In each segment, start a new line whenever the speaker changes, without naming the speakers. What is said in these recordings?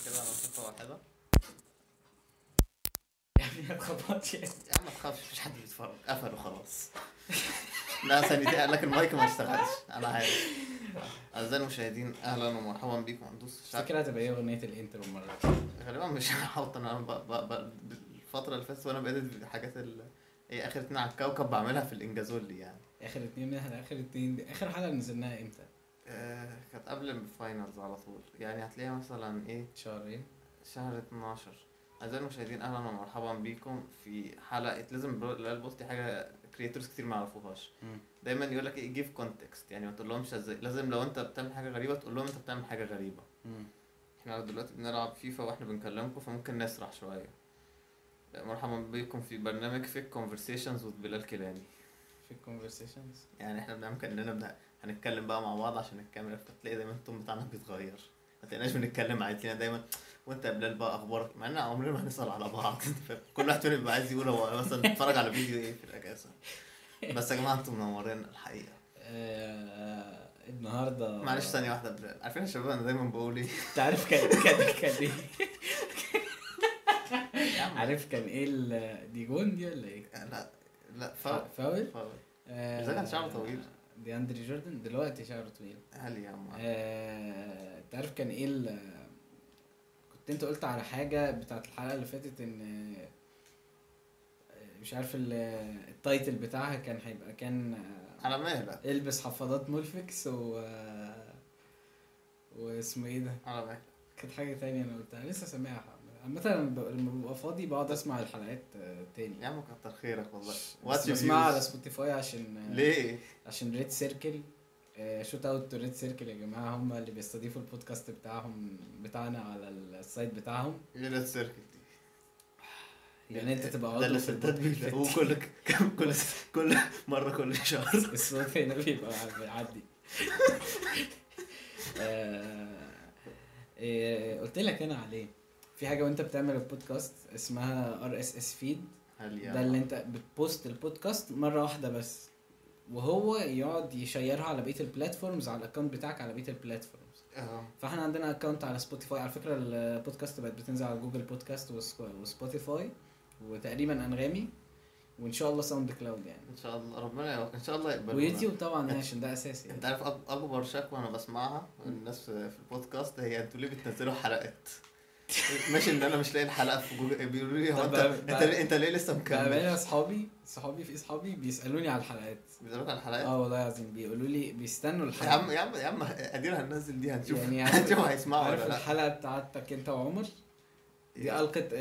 لطيفة وحلوة
يعني ما تخبطش يعني.
يا عم ما تخافش مفيش حد بيتفرج قفل وخلاص لا ثانيتين لكن المايك ما اشتغلش انا عارف اعزائي المشاهدين اهلا ومرحبا بيكم هندوس في شعب
فكرة هتبقى ايه اغنية الانترو المرة دي؟
غالبا مش هحط انا ب... ب... ب... الفترة اللي فاتت وانا بقيت حاجات ال... ايه اخر اتنين على الكوكب بعملها في الانجازولي يعني
اخر اتنين منها اخر اتنين دي اخر حلقة نزلناها امتى؟
آه كانت قبل الفاينلز على طول يعني هتلاقيها مثلا ايه
شهرين
شهر 12 أعزائي المشاهدين أهلا ومرحبا بيكم في حلقة لازم برو- لا البوست دي حاجة كريتورز كتير ما يعرفوهاش دايما يقول لك ايه جيف كونتكست يعني ما تقولهمش ازاي لازم لو انت بتعمل حاجة غريبة تقول لهم انت بتعمل حاجة غريبة احنا دلوقتي بنلعب فيفا واحنا بنكلمكم فممكن نسرح شوية مرحبا بيكم في برنامج فيك كونفرسيشنز وذ بلال كيلاني
في الكونفرسيشنز
يعني احنا بنعمل كاننا بن- هنتكلم بقى مع بعض عشان الكاميرا فتلاقي دايما التون بتاعنا بيتغير ما تلاقيناش بنتكلم عادي تلاقينا دايما وانت يا بلال بقى اخبارك مع ان عمرنا ما هنسال على بعض كل واحد فينا بيبقى عايز يقول هو مثلا اتفرج على فيديو ايه في الاجازه بس يا جماعه انتوا منورين الحقيقه
آه النهاردة
معلش ثانيه واحده يا بلال عارفين يا شباب انا دايما بقول ايه
انت عارف كان كان كان ايه؟
يا عم،
عارف كان ايه ال- دي جون دي ولا ايه؟
لا لا فاول
فاول؟
فاول
آه،
إزاي كان شعره طويل؟
دي اندري جوردن دلوقتي شعره طويل
هل يا عم
آه، انت عارف كان ايه ال... كنت انت قلت على حاجة بتاعت الحلقة اللي فاتت ان آه، مش عارف ال... التايتل بتاعها كان هيبقى كان آه،
على مهلك
البس حفاضات مولفكس و آه، واسمه ايه ده
على مهلك
كانت حاجة تانية انا قلتها لسه سامعها عامة أنا ب- لما ببقى فاضي بقعد اسمع الحلقات آه، تاني
يا عم كتر خيرك والله
بس
What you
بسمعها
use؟
على سبوتيفاي عشان آه،
ليه
عشان آه، ريد سيركل شوت اوت تو ريد سيركل يا جماعه هم اللي بيستضيفوا البودكاست بتاعهم بتاعنا على السايت بتاعهم
ايه ده السيركل دي
يعني انت تبقى
ده
عضو
اللي
في
سداد بيلاقوه
البودكاست
كل كم- كل كل مره كل شهر
الصوت هنا بيبقى بيعدي آه، آه، قلت لك انا عليه في حاجه وانت بتعمل البودكاست اسمها ار اس اس فيد
هل يا
ده اللي انت بتبوست البودكاست مره واحده بس وهو يقعد يشيرها على بقيه البلاتفورمز على الاكونت بتاعك على بقيه البلاتفورمز
اه
فاحنا عندنا اكونت على سبوتيفاي على فكره البودكاست بقت بتنزل على جوجل بودكاست وسك- وسبوتيفاي وتقريبا انغامي وان شاء الله ساوند كلاود يعني
ان شاء الله ربنا يوفق ان شاء الله يقبل
ويوتيوب طبعا عشان ده اساسي
انت عارف أك- اكبر شكوى انا بسمعها من الناس في في البودكاست هي انتوا ليه بتنزلوا حلقات ماشي ان انا مش لاقي الحلقه في جوجل بيقولوا لي هو انت
طب بقى-
انت
بقى-
ليه, انت ليه لسه
بامانه
مكمل؟
اصحابي صحابي في اصحابي بيسالوني على الحلقات
بيسألوك على الحلقات
اه والله العظيم بيقولوا لي بيستنوا
يا عم إيه
الحلقه
يا عم يا عم ادينا هننزل دي هنشوف
آه، يعني عارف-
هنشوف هيسمعوا
عارف
ولا لا
الحلقه بتاعتك انت وعمر
إيه؟
دي القت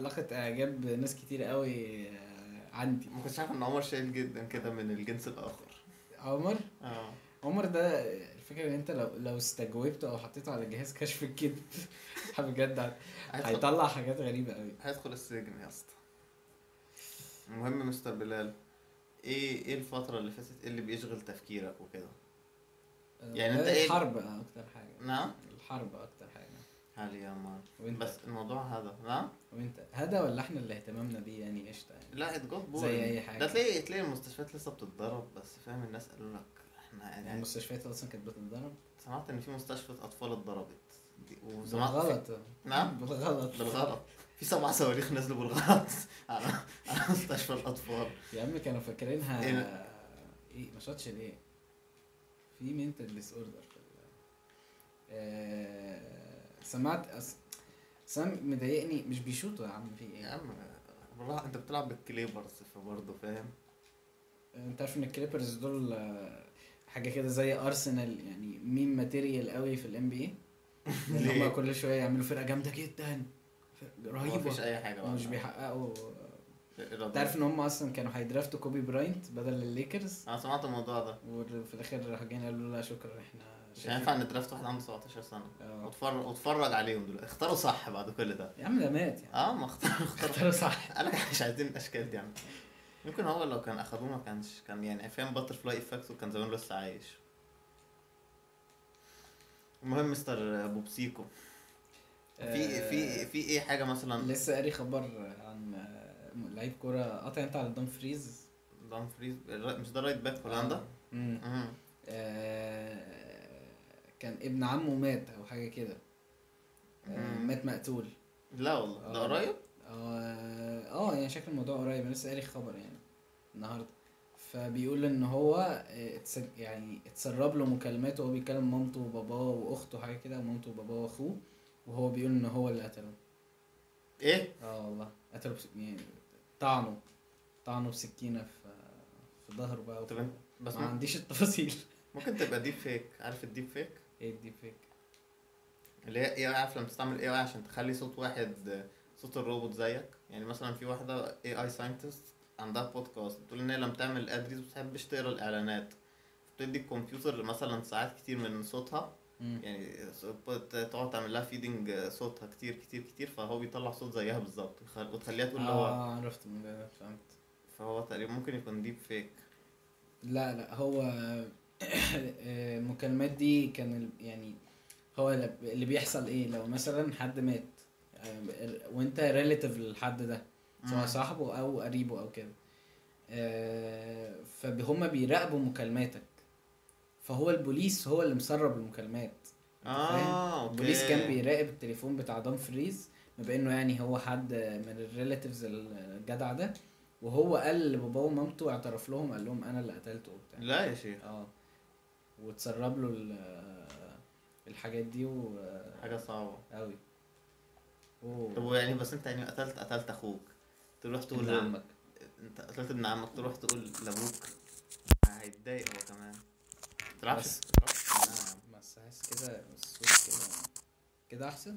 لقت اعجاب ناس كتير قوي آه، عندي
ما كنتش عارف ان عمر شايل جدا كده من الجنس الاخر
عمر
اه
عمر ده الفكرة ان انت لو لو استجوبته او حطيته على جهاز كشف الكذب بجد هت-
هيدخل-
هيطلع حاجات غريبة قوي
هيدخل السجن يا اسطى المهم مستر بلال ايه ايه الفترة اللي فاتت إيه اللي بيشغل تفكيرك وكده؟ يعني انت ايه-
الحرب اكتر حاجة
نعم؟
الحرب اكتر حاجة
هل يا مان
وانت بس.
بس الموضوع هذا نعم؟
وانت هذا ولا احنا اللي اهتمامنا بيه يعني قشطة يعني
لا ات جوت
زي أي حاجة.
ده تلاقي تلاقي المستشفيات لسه بتتضرب بس فاهم الناس قالوا لك احنا
يعني
يعني
المستشفيات اصلا كانت بتتضرب
سمعت ان في مستشفى اطفال اتضربت دي- وسمعت
بالغلط
نعم؟
بالغلط
بالغلط في سبع صواريخ نزلوا بالغلط على على مستشفى الاطفال
يا عم كانوا فاكرينها
ايه
ايه ما شاطش ليه في منتال ديس اوردر في ال- آه، سمعت أس... سام مضايقني مش بيشوطوا يا عم في
يا
ايه
عم والله انت بتلعب بالكليبرز فبرضه فاهم
انت عارف ان الكليبرز دول آه، حاجه كده زي ارسنال يعني ميم ماتيريال قوي في الام بي اي
ليه؟
هم كل شويه يعملوا فرقه جامده جدا فرقة
مفيش آه.
رهيبه
اي حاجه بقى.
ومش بيحققوا
الإرادة.
انت عارف ان هم اصلا كانوا هيدرافتوا كوبي براينت بدل الليكرز
انا سمعت الموضوع ده
وفي الاخر راحوا جايين قالوا له لا شكرا احنا
مش هينفع ندرافت واحد عنده 17 سنه
اه.
واتفرج واتفرج عليهم دلوقتي اختاروا صح بعد كل ده
يا عم ده مات يعني
اه ما اختاروا اختاروا
اختاروا صح
قال لك مش عايزين الاشكال دي يعني يمكن هو لو كان اخدوه ما كانش كان يعني فاهم باتر فلاي افكت وكان زمان لسه عايش المهم مستر بوبسيكو في في في ايه حاجه مثلا
آه، لسه قاري خبر عن آه، لعيب كوره قطع انت على دومفريز
دامفريز مش ده رايت باك هولندا
امم
مم.
آه، كان ابن عمه مات او حاجه كده آه،
مم.
مات مقتول
لا والله ده
آه.
قريب
اه آه، يعني شكل الموضوع قريب انا لسه قاري خبر يعني النهارده فبيقول ان هو آه، اتس- يعني اتسرب له مكالمات وهو بيكلم مامته وباباه واخته حاجه كده مامته وباباه واخوه وهو بيقول ان هو اللي قتله
ايه
اه والله قتله بس... يعني طعنه طعنه بسكينه في في ظهره بقى
طب انت- بس
بس ما
مم-
عنديش التفاصيل
ممكن تبقى ديب فيك عارف الديب فيك
ايه الديب فيك
اللي هي اي عارف لما تستعمل اي عشان تخلي صوت واحد آه، صوت الروبوت زيك يعني مثلا في واحده اي اي ساينتست عندها بودكاست بتقول ان هي لما تعمل ادريس ما بتحبش تقرا الاعلانات بتدي الكمبيوتر مثلا ساعات كتير من صوتها
مم.
يعني ص- بت- تقعد تعمل لها فيدنج صوتها كتير كتير كتير فهو بيطلع صوت زيها بالظبط ويخ- وتخليها تقول هو
اه عرفت من ده فهمت
فهو تقريبا ممكن يكون ديب فيك
لا لا هو المكالمات دي كان ال- يعني هو ل- اللي بيحصل ايه لو مثلا حد مات آه، وانت ريليتيف للحد ده سواء
مم.
صاحبه او قريبه او كده آه، فهم بيراقبوا مكالماتك فهو البوليس هو اللي مسرب المكالمات أنت فاهم؟
اه اوكي
البوليس كان بيراقب التليفون بتاع دون فريز ما بانه يعني هو حد من الريلاتيفز الجدع ده وهو قال لباباه ومامته اعترف لهم قال لهم انا اللي قتلته وبتاع
لا يا شيخ
اه وتسرب له ال- الحاجات دي و
حاجه صعبه
قوي
طب
اوه
ويعني بس انت يعني قتلت قتلت اخوك تروح تقول
ابن عمك
ايه؟ انت قتلت ابن عمك تروح تقول لابوك هيتضايق هو كمان
بس.
تلعبش
بس عايز كده الصوت كده كده احسن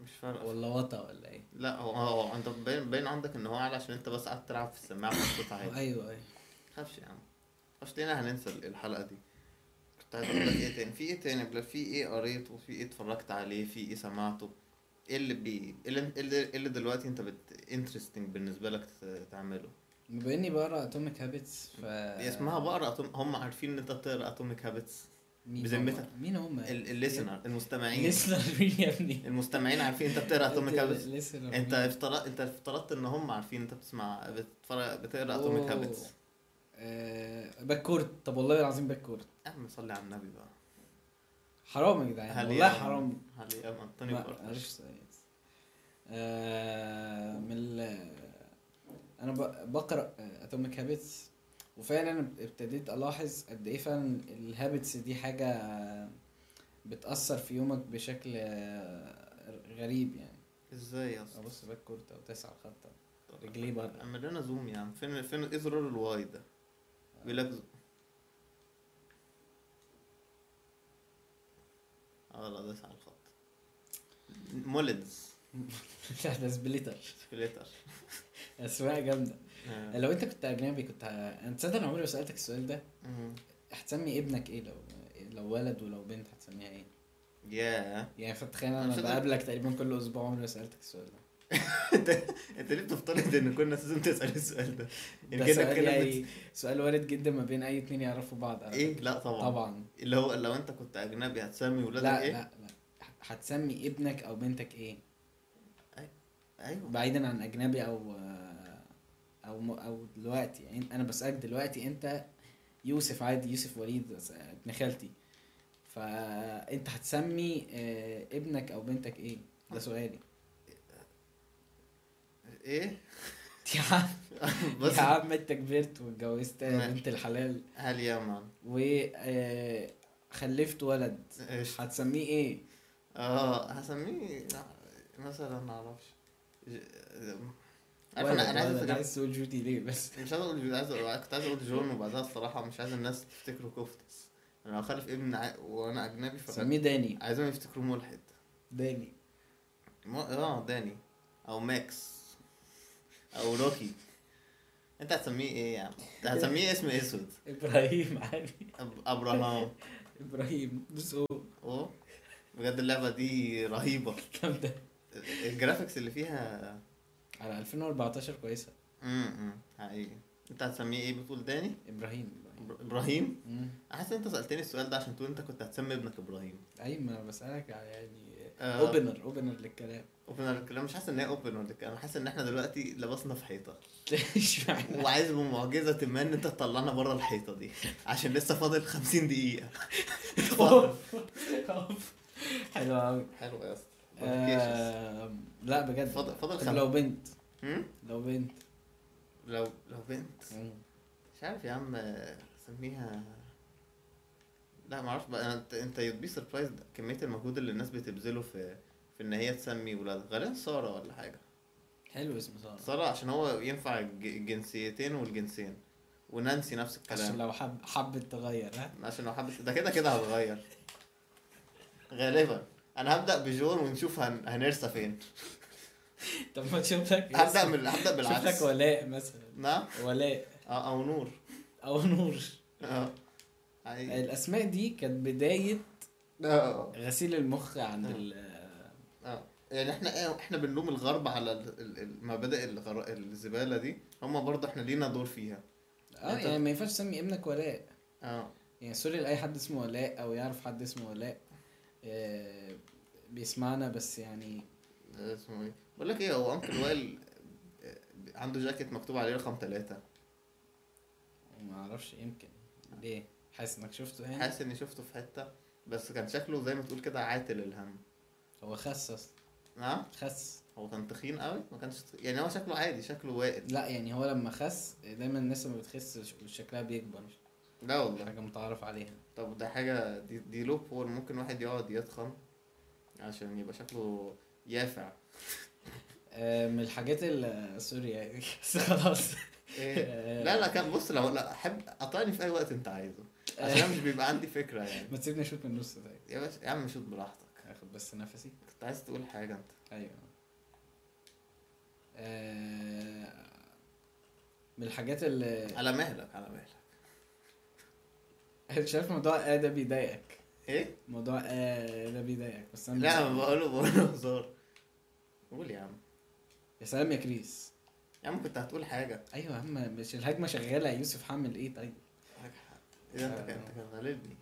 مش فارقه
ولا وطا ولا ايه
لا هو هو انت باين باين عندك ان هو اعلى عشان انت بس قاعد تلعب في السماعه مبسوط عادي
ايوه ايوه
تخافش يا عم تخافش لينا هننسى الحلقه دي كنت عايز اقول لك ايه تاني في ايه تاني بلا في ايه قريته في ايه اتفرجت عليه في ايه سمعته ايه اللي بي ايه اللي- إيه اللي, إيه اللي دلوقتي انت بت انترستنج بالنسبه لك ت- تعمله
بما اني بقرا اتوميك هابتس ف
دي اسمها بقرا أتوم... هم عارفين ان انت بتقرا اتوميك هابتس
مين
بذمتك.
هم؟ مين هم
الليسنر المستمعين
ليسنر مين يا ابني
المستمعين عارفين انت بتقرا اتوميك هابتس
Listener.
انت افترضت انت افترضت ان هم عارفين انت بتسمع بتتفرج بتقرا اتوميك
أوه.
هابتس
آه، باكورد طب والله العظيم باكورد
يا عم صلي على النبي بقى
حرام يا جدعان يعني والله
يا
حرام
هل يا انطونيو
ما
بارتش
معرفش آه من ال... انا ب- آه، بقرا اتوميك هابتس وفعلا أنا ابتديت الاحظ قد ايه فعلا الهابتس دي حاجه بتاثر في يومك بشكل آه، غريب يعني
ازاي يا اسطى
ابص باكورد او تسعة خطة
طب
رجليه بره
اعمل لنا زوم يا عم فين فين ايه زرار الواي ده بيقول لك زو- اه لا داس على الخط مولدز
لا ده سبليتر
سبليتر
اسماء جامده
آه.
لو انت كنت اجنبي كنت ه- انا تصدق انا عمري ما سالتك السؤال ده هتسمي ابنك ايه لو لو ولد ولو بنت هتسميها ايه؟
ياه
يعني فتخيل
أنا
انا
صدق-
بقابلك تقريبا كل اسبوع عمري ما سالتك السؤال ده
انت ليه بتفترض ان كنا لازم تسال السؤال ده؟ يعني
ده
كأنك
سؤال
كده
يعني سؤال وارد جدا ما بين اي اتنين يعرفوا بعض على
ايه
فكرة.
لا طبعا
طبعا
اللي هو لو انت كنت اجنبي هتسمي
لا
ولادك
لا
ايه
لا هتسمي ابنك او بنتك ايه؟
ايوه
بعيدا عن اجنبي او او م- او دلوقتي يعني انا بسالك دلوقتي انت يوسف عادي يوسف وليد بس- ابن خالتي فانت هتسمي آه، ابنك او بنتك ايه ده سؤالي
ايه
يا عم
بس
يا عم انت كبرت واتجوزت
ما-
بنت الحلال
هل يا مان
وخلفت آه، ولد
ايش
هتسميه ايه؟
اه هسميه مثلا ما اعرفش ج- عارف
ولد،
انا انا عايز
ولد،
أتجنب-
عايز تقول جودي ليه بس
مش عايز اقول عايز أقول- كنت عايز اقول جون وبعدها الصراحه مش عايز الناس تفتكره كفتس انا لو خلف ابن ع- وانا اجنبي ف
سميه داني
عايزهم يفتكروه ملحد
داني
مو- اه داني او ماكس او روكي انت هتسميه ايه يا عم؟ أنت هتسميه اسم اسود
ابراهيم عادي
أب- ابراهام
ابراهيم دوس او
اوه بجد اللعبة دي رهيبة
الكلام ده
الجرافيكس اللي فيها
على 2014 كويسه
امم حقيقي انت هتسميه ايه بتقول داني؟
ابراهيم
إبر-
ابراهيم
ابراهيم؟
مم.
حاسس ان انت سألتني السؤال ده عشان تقول انت كنت هتسمي ابنك ابراهيم
اي ما أنا بسالك على يعني
آه.
اوبنر اوبنر للكلام
اوبنر الكلام مش حاسس ان هي اوبنر انا حاسس ان احنا دلوقتي لبسنا في حيطة
اشمعنى
وعايز بمعجزة ما ان انت تطلعنا بره الحيطة دي عشان لسه فاضل 50 دقيقة اتفضل.
أوف. أوف. حلو قوي
حلو يا اسطى Qualifications.
آه لا بجد
فاضل- فاضل
طب
خمسة.
لو بنت
هم؟
لو بنت
لو لو بنت
مم.
مش عارف يا عم آه، سميها لا ما اعرفش بقى انت انت you'd be surprised كميه المجهود اللي الناس بتبذله في في ان هي تسمي ولاد غالبا ساره ولا حاجه
حلو اسم ساره
ساره عشان هو ينفع الج- الجنسيتين والجنسين ونانسي نفس
عشان
الكلام
لو حب حبت تغير ها
عشان لو حبت ده كده كده هتغير غالبا انا هبدا بجون ونشوف هن... هنرسى فين
طب ما تشوف لك
هبدا من هبدا
شوف لك
بالعكس
ولاء مثلا
نعم
ولاء
آه، او نور
او نور
اه عادي.
الاسماء دي كانت بدايه
آه.
غسيل المخ عند
آه.
ال
اه يعني احنا احنا بنلوم الغرب على ال- ال- المبادئ الغر- الزباله دي هم برضه احنا لينا دور فيها
اه
أنت-
يعني ما ينفعش تسمي ابنك ولاء
اه
يعني سوري لأي حد اسمه ولاء أو يعرف حد اسمه ولاء آه، بيسمعنا بس يعني
اسمه ايه بقول لك ايه هو انكل وائل آه، عنده جاكيت مكتوب عليه رقم ثلاثة
ما أعرفش يمكن ليه حاسس إنك شفته يعني
حاسس اني شفته في حته بس كان شكله زي ما تقول كده عاتل الهم
هو خس أصلا
نعم
خس
هو كان تخين قوي ما كانش تخ- يعني هو شكله عادي شكله وائل
لا يعني هو لما خس دايما الناس لما بتخس ش- شكلها بيكبر
لا والله
حاجة متعارف عليها
طب ده حاجه دي, دي لو بول ممكن واحد يقعد يتخن عشان يبقى شكله يافع
آه، من الحاجات ال سوري يعني بس خلاص
ايه لا لا كان بص لو لا احب اطعني في اي وقت انت عايزه عشان أنا مش بيبقى عندي فكره يعني
ما تسيبني أشوف من النص طيب
يا باشا يا عم شوت براحتك
آخد بس نفسي
كنت عايز تقول حاجه انت
ايوه آه، من الحاجات اللي
على مهلك على مهلك
مش عارف موضوع آه ده بيضايقك
ايه
موضوع آه ده بيضايقك بس انا
لا ما بقوله بقوله هزار قول يا عم
يا سلام يا كريس
يا عم كنت هتقول حاجه
ايوه يا عم مش الهجمه شغاله يا يوسف حمل ايه طيب
ايه ده انت كان انت كان غالبني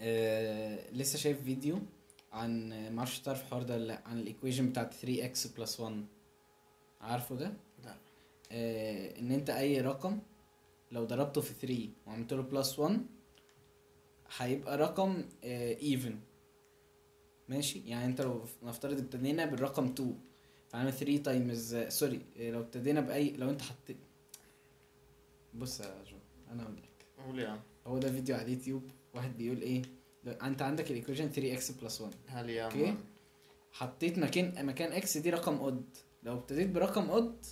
آه لسه شايف فيديو عن ما اعرفش تعرف الحوار ده ولا لا عن الايكويجن بتاعت 3 اكس بلس 1 عارفه ده؟
لا.
آه ان انت اي رقم لو ضربته في 3 وعملت له بلس 1 هيبقى رقم ايفن ماشي يعني انت لو نفترض ابتدينا بالرقم 2 فعمل 3 تايمز سوري آه، لو ابتدينا باي لو انت حطيت بص يا جو انا هقول لك
قول يا عم
هو ده فيديو على اليوتيوب واحد بيقول ايه لو انت عندك الايكويشن 3 اكس بلس 1
هل يا
أوكي.
عم
حطيت مكان مكان اكس دي رقم اود لو ابتديت برقم اود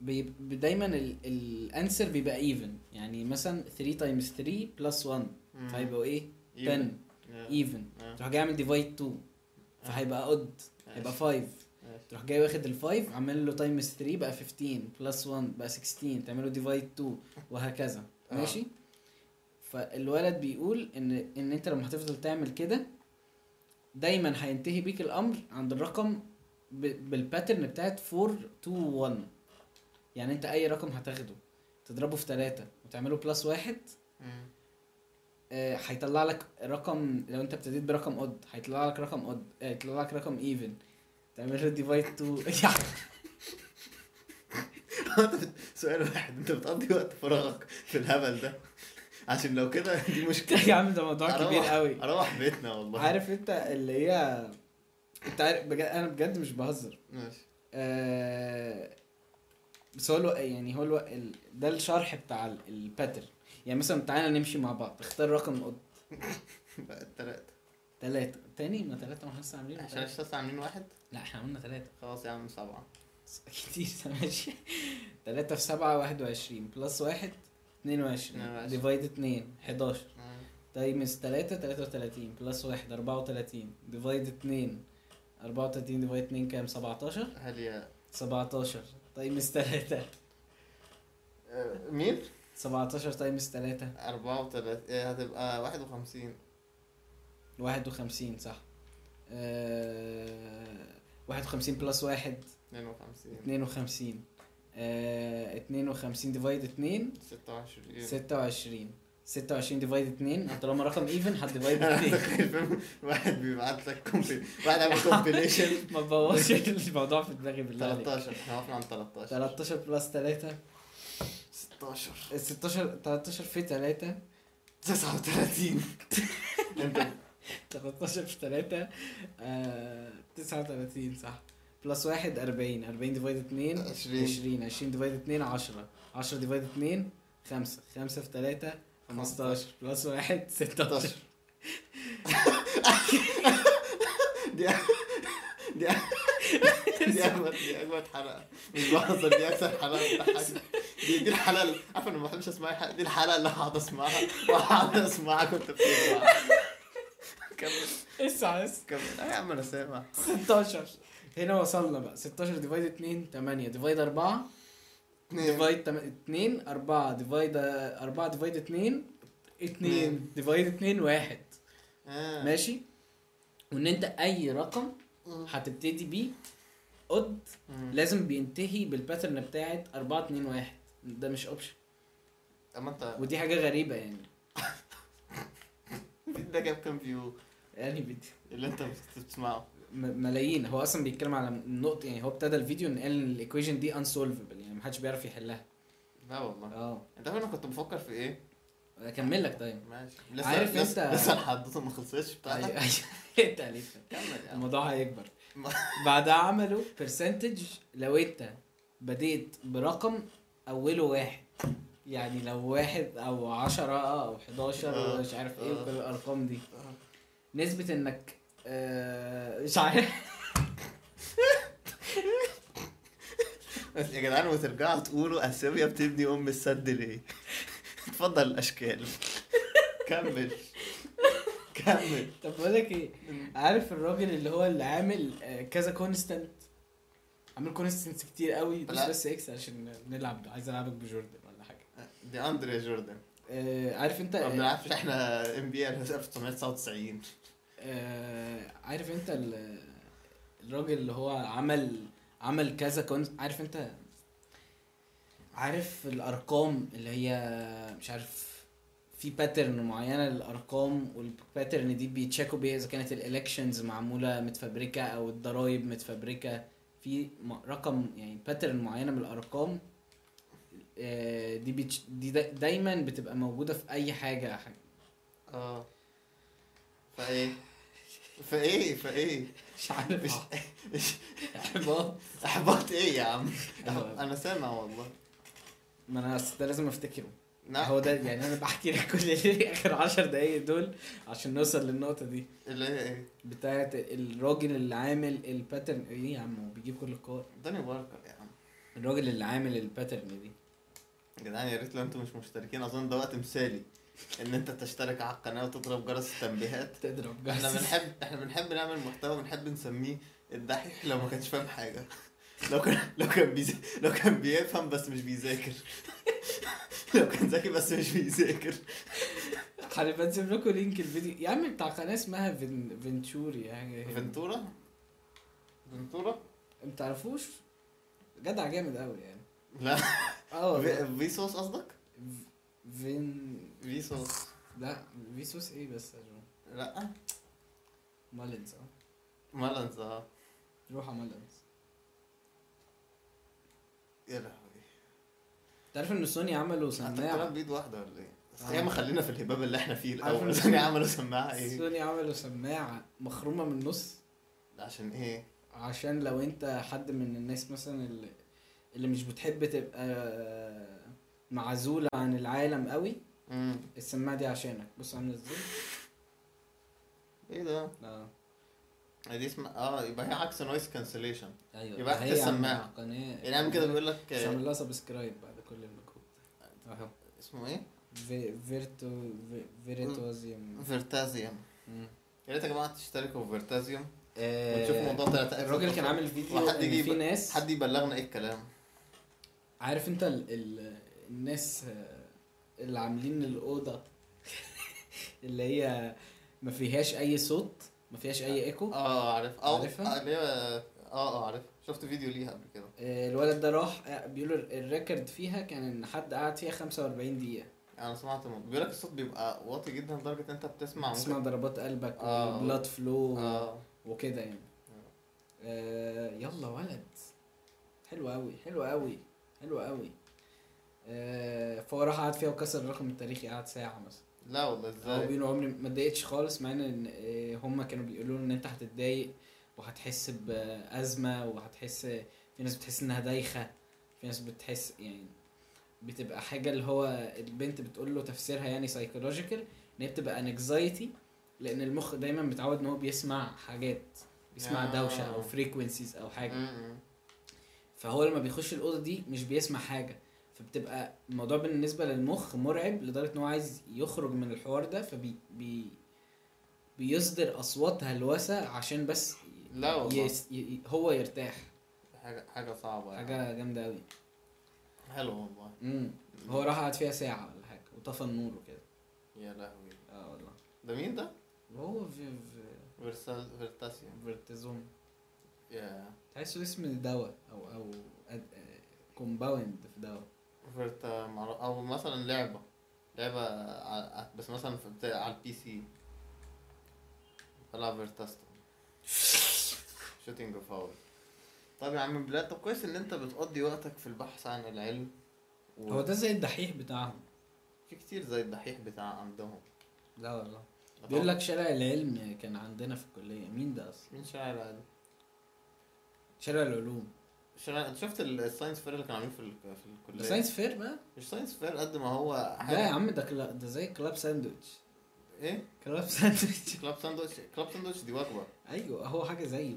بيبقى دايما الانسر بيبقى ايفن يعني مثلا 3 تايمز 3 بلس 1
مم.
فهيبقوا ايه 10
Even. Yeah.
ايفن
آه.
تروح جاي عامل ديفايد 2
آه.
فهيبقى اود
إيه.
هيبقى 5
ماشي.
تروح جاي واخد ال 5 عامل له تايمز 3 بقى 15 بلس 1 بقى 16 تعمله ديفايد 2 وهكذا
آه.
ماشي فالولد بيقول ان ان انت لما هتفضل تعمل كده دايما هينتهي بيك الامر عند الرقم ب- بالباترن بتاعت 4 2 1 يعني انت اي رقم هتاخده تضربه في 3 وتعمله بلس 1
مم.
آه، هيطلع لك رقم لو انت ابتديت برقم اود هيطلع لك رقم اود هيطلع لك رقم ايفن تعمل له ديفايد تو
سؤال واحد انت بتقضي وقت فراغك في الهبل ده عشان لو كده دي مشكله
يا عم ده موضوع كبير
أروح-
قوي
اروح بيتنا والله
يعني عارف انت اللي هي انت عارف بجد انا بجد مش بهزر
ماشي
آه، بس هو الو... يعني هو الو... ال... ده الشرح بتاع ال- الباترن يعني مثلا تعالى نمشي مع بعض اختار رقم اود
بقى التلاتة
ثلاثة تاني ما ثلاثة ما احنا لسه عاملين
إيه، عشان
تلاتة.
الشخص عاملين واحد
لا احنا عملنا ثلاثة
خلاص يا عم سبعة
كتير ماشي 3 في 7 21 بلس 1 22
22.
ديفايد 2 11
إيه،
تايمز 3 33 بلس 1 34 ديفايد 2 34 ديفايد 2 كام 17
هل يا
17 تايمز 3
آه، مين؟
17 تايمز 3
أربعة وتلاتين هتبقى واحد وخمسين
51 صح آه... 51 بلس 1
اتنين وخمسين
52 آه... 52 ديفايد 2
ستة وعشرين
26 26 ديفايد 2 طالما رقم ايفن هتديفايد
أنا
2
متخيل فيلم واحد بيبعت لك compil- واحد عامل كومبيليشن
ما تبوظش الموضوع في دماغي بالله عليك
13 احنا وقفنا عند 13
13 بلس 3
16
16 13 في 3
39 انت
13 في 3 39 صح بلس 1 40 40 ديفايد 2
20.
20 20 ديفايد 2 10 10 ديفايد 2 5 5 في 3 15 بلس 1 16
دي دي دي اجمد دي اجمد حلقه مش بهزر دي اكثر حلقه بتضحكني دي دي الحلقه اللي- عارف انا ما بحبش اسمع الحلقه دي الحلقه اللي هقعد اسمعها وهقعد اسمعها كنت بتسمع كمل
اسعى
كمل آه يا عم انا سامع
16 هنا وصلنا بقى 16 ديفايد 2 8 ديفايد 4 ديفايد 2 4 ديفايد 4 ديفايد 2 2
اتنين.
ديفايد 2 1
آه.
ماشي وان انت اي رقم هتبتدي بيه قد
مم.
لازم بينتهي بالباترن بتاعت 4 2 1 ده مش اوبشن
اما انت
ودي حاجه غريبه يعني
ده جاب كام فيو
يعني بت-
اللي انت بتسمعه
م- ملايين هو اصلا بيتكلم على النقطه يعني هو ابتدى الفيديو ان قال ان الايكويشن دي انسولفبل يعني محدش بيعرف يحلها
لا والله
اه
انت عارف انا كنت بفكر في ايه؟
اكمل لك طيب
ماشي لسه
عارف
لسه
انت-
لسه الحدوته ما خلصتش بتاعتك
ايوه ايوه انت عليك
كمل يا عم
الموضوع هيكبر
ما-
بعدها عملوا برسنتج لو انت بديت برقم اوله واحد يعني لو واحد او عشرة او 11
اه.
مش عارف ايه
اه.
وكل الارقام دي
اه.
نسبة انك آه، مش عارف
بس يا جدعان وترجعوا تقولوا اثيوبيا بتبني ام السد ليه؟ اتفضل الاشكال كمل كمل
طب بقول لك ايه عارف الراجل اللي هو اللي عامل آه، كذا كونستنت عامل كونستنتس كتير قوي بس
لا.
بس اكس عشان نلعب عايز العبك بجوردن ولا حاجه
دي اندريا جوردن
آه، عارف انت
ما
آه،
بنعرفش احنا ام بي ال 1999
آه عارف انت ال- الراجل اللي هو عمل عمل كذا كون عارف انت عارف الارقام اللي هي مش عارف في باترن معينه للارقام والباترن دي بيتشيكوا بيها اذا كانت الالكشنز معموله متفبركه او الضرايب متفبركه في م- رقم يعني باترن معينه من الارقام آه، دي بيتش دي دا دايما بتبقى موجوده في اي حاجه آه.
اه فايه؟ فايه فايه؟
مش عارف
مش
آه. احباط
احباط ايه يا عم؟ انا سامع والله
ما انا أصل ده لازم افتكره
نعم.
هو ده يعني انا بحكي لك كل اللي اخر عشر دقايق دول عشان نوصل للنقطه دي
اللي هي ايه؟
بتاعه الراجل اللي عامل الباترن ايه يا عم هو بيجيب كل الكور
داني باركر يا عم
الراجل اللي عامل الباترن دي
يا جدعان يا ريت لو انتم مش مشتركين اظن ده وقت مثالي ان انت تشترك على القناه وتضرب جرس التنبيهات
تضرب
احنا
جرس
بنحب احنا بنحب نعمل محتوى بنحب نسميه الدحيح لو ما كانش فاهم حاجه لو كان لو كان بيز... لو كان بيفهم بس مش بيذاكر لو كان ذكي بس مش بيذاكر
هنبقى نسيب لكم لينك الفيديو يا عم بتاع قناه اسمها فين... فينتشوري حاجه كده.
فنتورا فنتورا
ما تعرفوش جدع جامد قوي يعني
لا
اه والله.
في- فيسوس قصدك
فين
فيسوس
لا فيسوس ايه بس يا جماعه
لا
مالنز اه
مالنز اه
روح على مالنز
يا لهوي
تعرف ان سوني عملوا
انت
سماعه
بتلعب بايد واحده ولا ايه؟ بس
آه.
يا ما خلينا في الهباب اللي احنا فيه
عارف
الاول
إن-
عشان يعملوا سماعه ايه؟
سوني عملوا سماعة مخرومة من النص
عشان ايه؟
عشان لو انت حد من الناس مثلا اللي, اللي مش بتحب تبقى معزولة عن العالم قوي
مم.
السماعة دي عشانك بص عاملة ازاي
ايه ده؟
اه
دي اسمها اه يبقى هي عكس نويز كانسليشن
ايوه
يبقى
هي
هات السماعة.
عاملة قناة
يعني عم كده بيقول لك
بس
آه،
عامل لها سبسكرايب بعد كل المجهود اهو
اسمه ايه؟
في- فيرتو في- فيرتوزيوم
فيرتازيوم
مم.
يا ريت يا جماعه تشتركوا في فيرتازيوم
آه،
وتشوفوا موضوع تلات
الراجل كان عامل فيديو
وحد
ان
يجي
في
يب-
ناس
حد يبلغنا ايه الكلام
عارف انت ال ال الناس آه، اللي عاملين الاوضه اللي هي ما فيهاش اي صوت ما فيهاش اي ايكو
اه عارف اه
عارفها؟
آه، اللي هي اه اه عارف شفت فيديو ليها قبل كده
آه، الولد ده راح آه، بيقولوا ال- الريكورد فيها كان ان حد قعد فيها 45 دقيقه
انا سمعت م- بيقول لك الصوت بيبقى واطي جدا لدرجه ان انت بتسمع آه، ممكن-
تسمع ضربات قلبك
اه.
وبلاد فلو
اه
وكده يعني آه، يلا ولد حلو قوي حلو قوي حلو قوي آه، فهو راح قعد فيها وكسر الرقم التاريخي قعد ساعه مثلا
لا والله
هو
ازاي
بيقولوا عمري ما اتضايقتش خالص مع ان آه، هما كانوا بيقولوا ان انت هتتضايق وهتحس بازمه وهتحس في ناس بتحس انها دايخه في ناس بتحس يعني بتبقى حاجه اللي هو البنت بتقول له تفسيرها يعني سايكولوجيكال ان هي بتبقى انكزايتي لان المخ دايما متعود ان هو بيسمع حاجات بيسمع
آه.
دوشه او فريكونسيز او حاجه
م- م.
فهو لما بيخش الاوضه دي مش بيسمع حاجه فبتبقى الموضوع بالنسبه للمخ مرعب لدرجه ان هو عايز يخرج من الحوار ده فبي بي بيصدر اصوات هلوسه عشان بس
لا والله.
يس ي هو يرتاح
حاجه حاجه صعبه يعني.
حاجه جامده قوي
حلو والله
امم هو راح قعد فيها ساعه ولا حاجه وطفى النور وكده
يا لهوي
اه والله
ده مين ده؟
وهو في في
فيرسال فيرتاسيا
فيرتيزوم
يا
تحسه اسم دواء او او كومباوند في دواء
فيرتا معرف... او مثلا لعبه لعبه ع- بس مثلا في- بتاع- على البي سي بلعب فيرتاستا شوتينج اوف فاول طب يا عم بلاد طب كويس ان انت بتقضي وقتك في البحث عن العلم و...
هو ده زي الدحيح بتاعهم
في كتير زي الدحيح بتاع عندهم
لا والله بيقول لك شارع العلم كان عندنا في الكليه مين ده اصلا
مين شارع ده؟
شارع العلوم
شارع انت شفت ال- الساينس فير اللي كانوا عاملين في, ال... في الكليه
ده ساينس فير بقى
مش ساينس فير قد ما هو
لا يا عم ده كلا... ده زي كلاب ساندويتش
ايه
كلاب ساندويتش
كلاب ساندوتش كلاب ساندوتش دي وجبه
ايوه هو حاجه زيه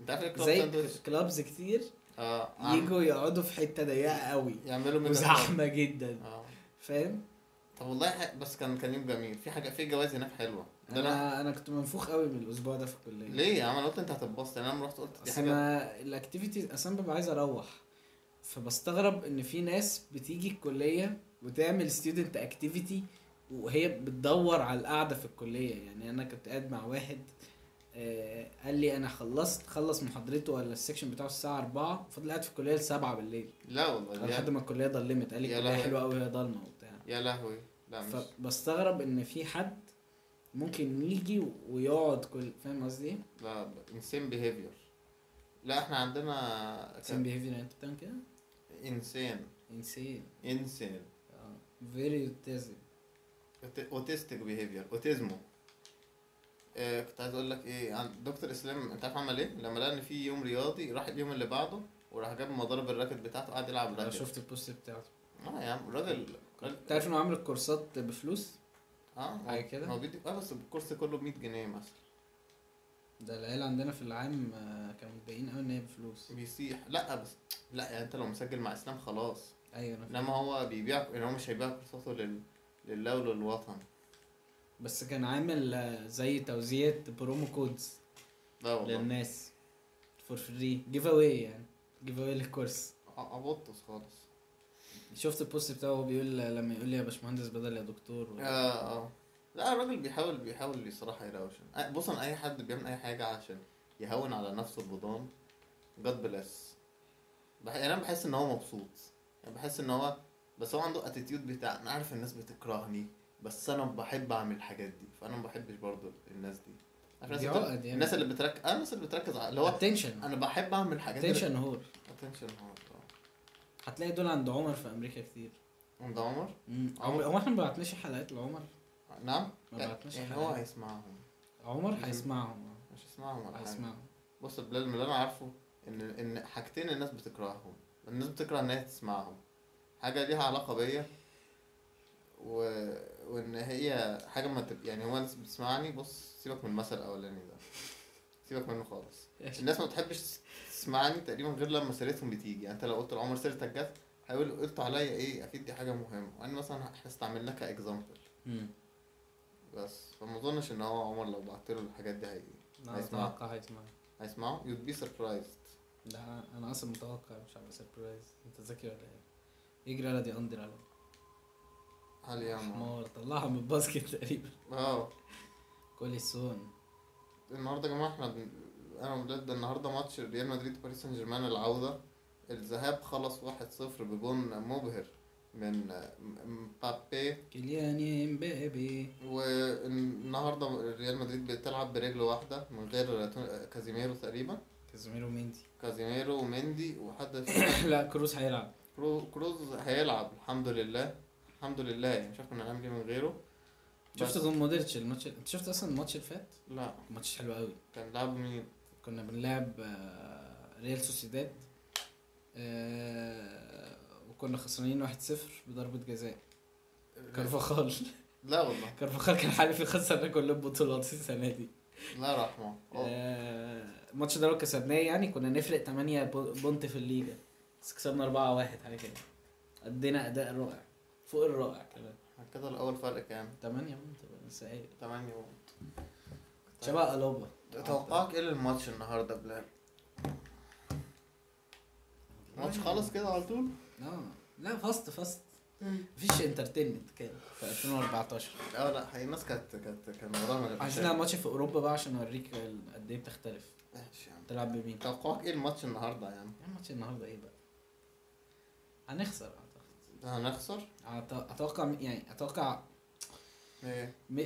انت عارف ايه كلاب
زي
ساندوتش
كلابز كتير
اه عم-
يجوا يقعدوا في حته ضيقه قوي
يعملوا منها
وزحمه جدا
اه
فاهم
طب والله ح... بس كان كان يوم جميل في حاجه في جوائز هناك حلوه ده انا
انا انا كنت منفوخ قوي من الاسبوع ده في الكليه
ليه يا عم انا قلت انت هتتبسط يعني انا لما رحت قلت دي
اصل
حاجه
انا الاكتيفيتيز اصلا ببقى عايز اروح فبستغرب ان في ناس بتيجي الكليه وتعمل ستودنت اكتيفيتي وهي بتدور على القعده في الكليه يعني انا كنت قاعد مع واحد آه قال لي انا خلصت خلص محاضرته ولا السكشن بتاعه الساعه 4 فضل قاعد في الكليه ل 7 بالليل
لا والله
لحد
يا,
ما الكليه ضلمت قال لي
يعني يا
الكليه
لهوي.
حلوه قوي هي ضلمه وبتاع
يا لهوي لا مش
فبستغرب ان في حد ممكن يجي ويقعد كل فاهم قصدي ايه؟
لا انسين بيهيفير لا احنا عندنا
سيم بيهيفير انت يعني بتعمل كده؟
انسان
انسين
انسان
فيري تازي
اوتيستيك بيهيفير اوتيزمو آه كنت عايز اقول لك ايه عن دكتور اسلام انت عارف عمل ايه لما لقى ان في يوم رياضي راح اليوم اللي بعده وراح جاب مضارب الراكت بتاعته قعد يلعب
انا
راكت
شفت البوست بتاعته
اه يا عم الراجل
انت عارف انه عامل الكورسات بفلوس
اه
حاجة
هو-
كده؟
هو بيدي اه بس الكورس كله ب 100 جنيه مثلا
ده العيال عندنا في العام آه، كانوا متضايقين قوي ان هي بفلوس
بيسيح لا بس لا يعني انت لو مسجل مع اسلام خلاص
ايوه انا فاهم.
انما هو بيبيع يعني هو مش هيبيع كورساته لل... لله وللوطن
بس كان عامل آه، زي توزيع برومو كودز
لا والله
للناس فور فري جيف اواي يعني جيف اواي للكورس
ع- عبطس خالص
شفت البوست بتاعه وهو بيقول آه، لما يقول لي يا باشمهندس بدل يا دكتور و...
اه اه لا الراجل بيحاول بيحاول بصراحه يراوشن آه، بص انا اي حد بيعمل اي حاجه عشان يهون على نفسه البضان جاد بلس بح... يعني انا بحس ان هو مبسوط يعني بحس ان هو بس هو عنده اتيتيود بتاع انا عارف الناس بتكرهني بس انا بحب اعمل الحاجات دي فانا ما بحبش برضو الناس دي عارف الناس
دي
بتر-
عقد يعني.
الناس اللي بتركز آه الناس اللي بتركز على اللي هو
اتنشن
انا بحب اعمل حاجات
اتنشن هور
اتنشن هو
هتلاقي دول عند عمر في امريكا كتير
عند عمر
مم.
عمر-
هو احنا ما بعتناش حلقات لعمر
نعم
ما بعتناش
يعني هو
حلقات
هيسمعهم
عمر هيسمعهم آه.
مش هيسمعهم ولا حاجه
هيسمعهم
بص بلال من اللي انا عارفه ان ان حاجتين الناس بتكرههم الناس بتكره ان هي تسمعهم حاجه ليها علاقه بيا و... وان هي حاجه ما تب... يعني هو الناس بتسمعني بص سيبك من المثل الاولاني ده سيبك منه خالص الناس ما بتحبش تسمعني تقريبا غير لما سيرتهم بتيجي يعني انت لو قلت لعمر سيرتك جت هيقول قلت عليا ايه اكيد دي حاجه مهمه وانا مثلا احنا استعملناها كاكزامبل
مم.
بس فما اظنش ان هو عمر لو بعت له الحاجات دي هي...
لا
هيسمعه.
اتوقع هيسمع
هيسمعه you'd be surprised
لا انا اصلا متوقع مش هبقى سربرايز انت ذكي ولا ايه يجري على دي اندر على
هل يا عمر
حمار طلعها من الباسكت تقريبا
اه
كولي سون
النهارده يا جماعه احنا بن... انا وبلاد ده النهارده ماتش ريال مدريد وباريس سان جيرمان العوده الذهاب خلص 1-0 بجون مبهر من مبابي
كيليان امبابي
والنهارده ريال مدريد بتلعب برجل واحده من غير تو- كازيميرو تقريبا
كازيميرو ميندي
كازيميرو وميندي وحد في-
لا كروس هيلعب
كرو- كروز هيلعب الحمد لله الحمد لله يعني مش عارف كنا هنعمل ايه من غيره
شفت جون مودريتش الماتش انت شفت اصلا الماتش اللي فات
لا
ماتش حلو قوي
كان لعب مين
كنا بنلعب آه، ريال سوسيداد آه، وكنا خسرانين 1-0 بضربة جزاء كارفاخال
لا والله
كارفاخال كان حالف يخسرنا كل البطولات السنة دي
لا رحمه أوه.
آه، الماتش ده لو كسبناه يعني كنا نفرق 8 بونت في الليجا بس كسبنا 4-1 حاجة كده ادينا أداء رائع فوق الرائع كمان
كده الاول فرق كام
8 بونت بقى، بس عادي.
8 بونت
شبه ألوبا
طيب. توقعك ايه للماتش النهارده بلال الماتش خلص كده على طول
اه آه. لا فاست فاست مفيش انترتينمنت كده في 2014
اه لا حقيقي الناس كانت كانت كان ورانا
عشان نلعب ماتش في اوروبا بقى عشان اوريك ال- قد ايه بتختلف
ماشي يا عم
تلعب بمين يا
توقعك ايه الماتش النهارده يا عم
عم ماتش النهارده ايه بقى هنخسر اعتقد
هنخسر
أعت- اتوقع م- يعني اتوقع
ايه
م...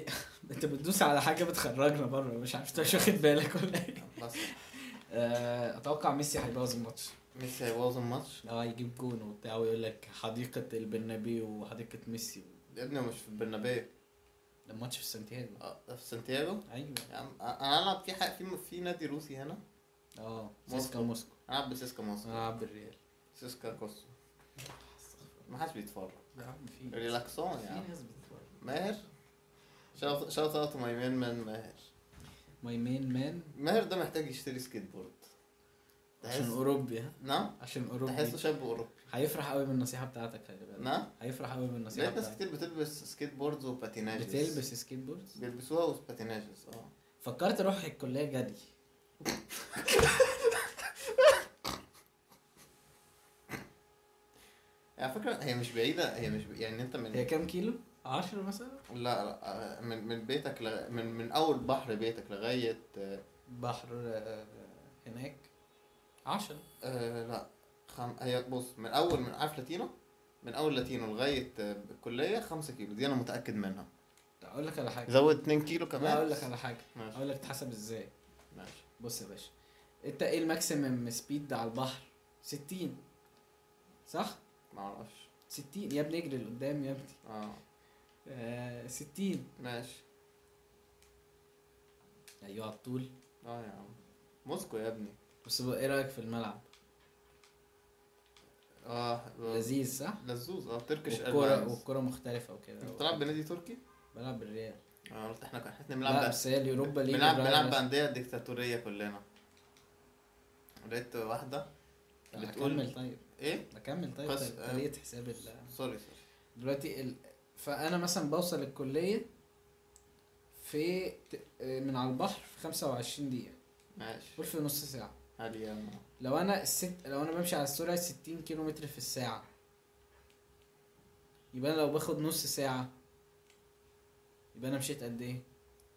انت بتدوس على حاجه بتخرجنا بره مش عارف انت مش واخد بالك ولا ايه
بس
آه، اتوقع ميسي هيبوظ الماتش
ميسي هيبوظ الماتش
لو هيجيب جون وبتاع ويقول لك حديقه البرنابيو وحديقه ميسي
يا ابني هو مش في البرنابيو
ده الماتش في سانتياغو
اه ده في سانتياغو
ايوه
يا عم آه، انا هلعب في حق في في نادي روسي هنا
اه
موسكو.
سيسكا موسكو
هلعب بسيسكا مصر
انا هلعب بالريال
سيسكا كوسو ما حدش بيتفرج
يا عم في
ريلاكسون
في
يا عم
ناس بتتفرج
ماهر شوت اوت ماي مان مان ماهر
ماي مين مان
ماهر ده محتاج يشتري سكيت بورد
عشان
تحس
اوروبي ها
نعم
عشان
تحسه
اوروبي
شاب اوروبي
هيفرح قوي بالناس بتاعتك خلي بالك
نعم
هيفرح قوي
ليه
بالنصيحه
ناس
بتاعتك
كتير بتلبس سكيت بوردز وباتيناجز
بتلبس سكيت بورد
بيلبسوها وباتيناجز اه
فكرت اروح الكليه جري
يعني على فكرة هي مش بعيدة هي مش ب... يعني انت من
هي كام كيلو 10 مثلا
لا لا آه، من من بيتك لغ... من من اول بحر بيتك لغاية آه...
بحر آه، هناك 10
آه... لا خم... هي بص من اول من عارف لاتينو من اول لاتينو لغاية آه، الكلية 5 كيلو دي انا متأكد منها
اقول لك على حاجه
زود 2 كيلو كمان
لا اقول لك على حاجه
ماشي
اقول لك تحسب ازاي
ماشي
بص يا باشا انت ايه الماكسيمم سبيد على البحر 60 صح
ما اعرفش
60 يا ابني اجري لقدام يا ابني
اه
آه، 60
ماشي
ايوه على الطول
اه يا عم موسكو يا ابني
بس بقى ايه رايك في الملعب
اه
لذيذ صح
لزوز اه تركش
والكرة
ايرلاينز
والكرة مختلفة وكده
انت بتلعب بنادي تركي؟
بلعب بالريال
اه قلت احنا احنا
لا
بنلعب
بس هي اليوروبا ليج
بنلعب
الريال
بنلعب
بس.
بأندية ديكتاتورية كلنا لقيت واحدة
لا،
بتقول-
هكمل طيب
ايه؟
هكمل طيب
قص-
طيب، طريقة حساب ال
سوري سوري
دلوقتي ال... فأنا مثلا بوصل الكلية في ت- آه، من على البحر في 25 دقيقة
ماشي
قول في نص ساعة
عادي يا عم.
لو أنا الست لو أنا بمشي على السرعة 60 كيلو متر في الساعة يبقى أنا لو باخد نص ساعة يبقى أنا مشيت قد إيه؟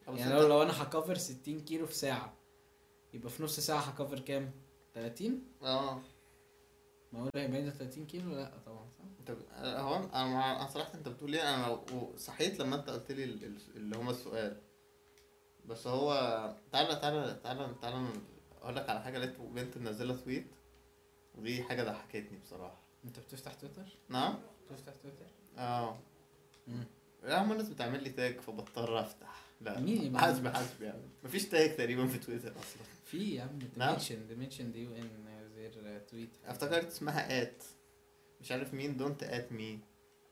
أبو
يعني
ستة-
لو لو انا هكفر 60 كيلو في ساعه يبقى في نص ساعه هكفر كام 30
اه
ما هو هيبقى ده 30 كيلو لا طبعا صح
انت ب- هو انا انا مع- أنا صراحة انت بتقول ايه انا لو- صحيت لما انت قلت لي ال- ال- اللي هما السؤال بس هو تعالى تعالى تعالى تعالى اقول لك على حاجة لقيت بنت منزلة تويت ودي حاجة ضحكتني بصراحة
انت بتفتح تويتر
نعم
بتفتح تويتر
اه
مم.
لا هم الناس بتعمل لي تاج فبضطر افتح لا
مين اللي بيعمل
حسب
لك؟
حسب يعني مفيش تاج تقريبا في تويتر اصلا
في يا عم
نعم.
ديمنشن ديمنشن دي يو ان غير تويت
افتكرت اسمها ات مش عارف مين دونت ات مي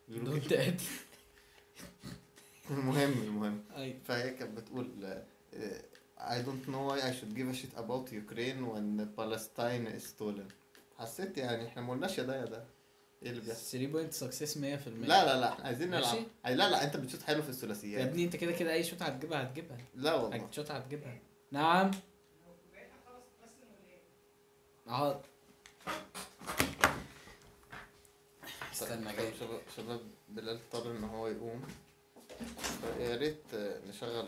دونت اد
المهم المهم
ايوه
فهي كانت بتقول آه، I don't know why I should give a shit about Ukraine when Palestine is stolen حسيت يعني احنا ما قلناش يا ده يا ده ايه اللي بيحصل
3 بوينت سكسس 100%
لا لا لا احنا عايزين
ماشي.
نلعب أي لا لا انت بتشوط حلو في
يا
الثلاثيات
ابني انت كده كده اي شوت هتجيبها هتجيبها
لا والله
اي شوت هتجيبها نعم اهو استنى جاي
شباب شباب بلال اضطر ان هو يقوم يا ريت آه، نشغل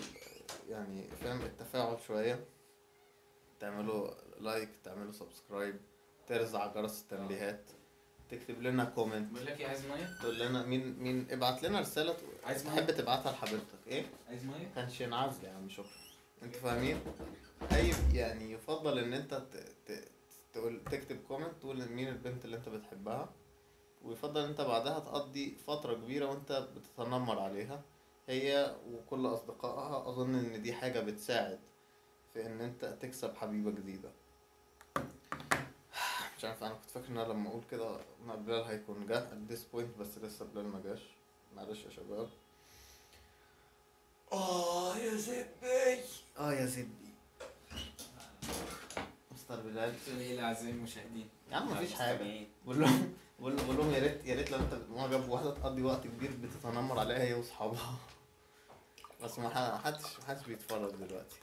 يعني فاهم التفاعل شويه تعملوا لايك تعملوا سبسكرايب ترزع جرس التنبيهات تكتب لنا كومنت
بقول لك ايه عايز ميه
تقول لنا مين مين ابعت لنا رساله تقول-
عايز
تحب تبعتها لحبيبتك ايه
عايز ميه
كانش ينعزل يعني، يا عم شكرا انتوا فاهمين اي يعني يفضل ان انت ت- ت- تقول تكتب كومنت تقول مين البنت اللي انت بتحبها ويفضل ان انت بعدها تقضي فترة كبيرة وانت بتتنمر عليها هي وكل اصدقائها اظن ان دي حاجه بتساعد في ان انت تكسب حبيبه جديده مش عارف انا كنت فاكر ان انا لما اقول كده إن بلال هيكون جه at this point بس لسه بلال ما جاش معلش يا شباب اه يا زبي اه يا زبي مستر بلال
بتقول
إيه
ايه لاعزائي المشاهدين؟
يا عم مفيش حاجه
المستمعين.
بقول لهم بقول بقول لهم يا ريت يا ريت لو انت ما جاب واحده تقضي وقت كبير بتتنمر عليها هي واصحابها بس ما ح- حدش ما حدش بيتفرج دلوقتي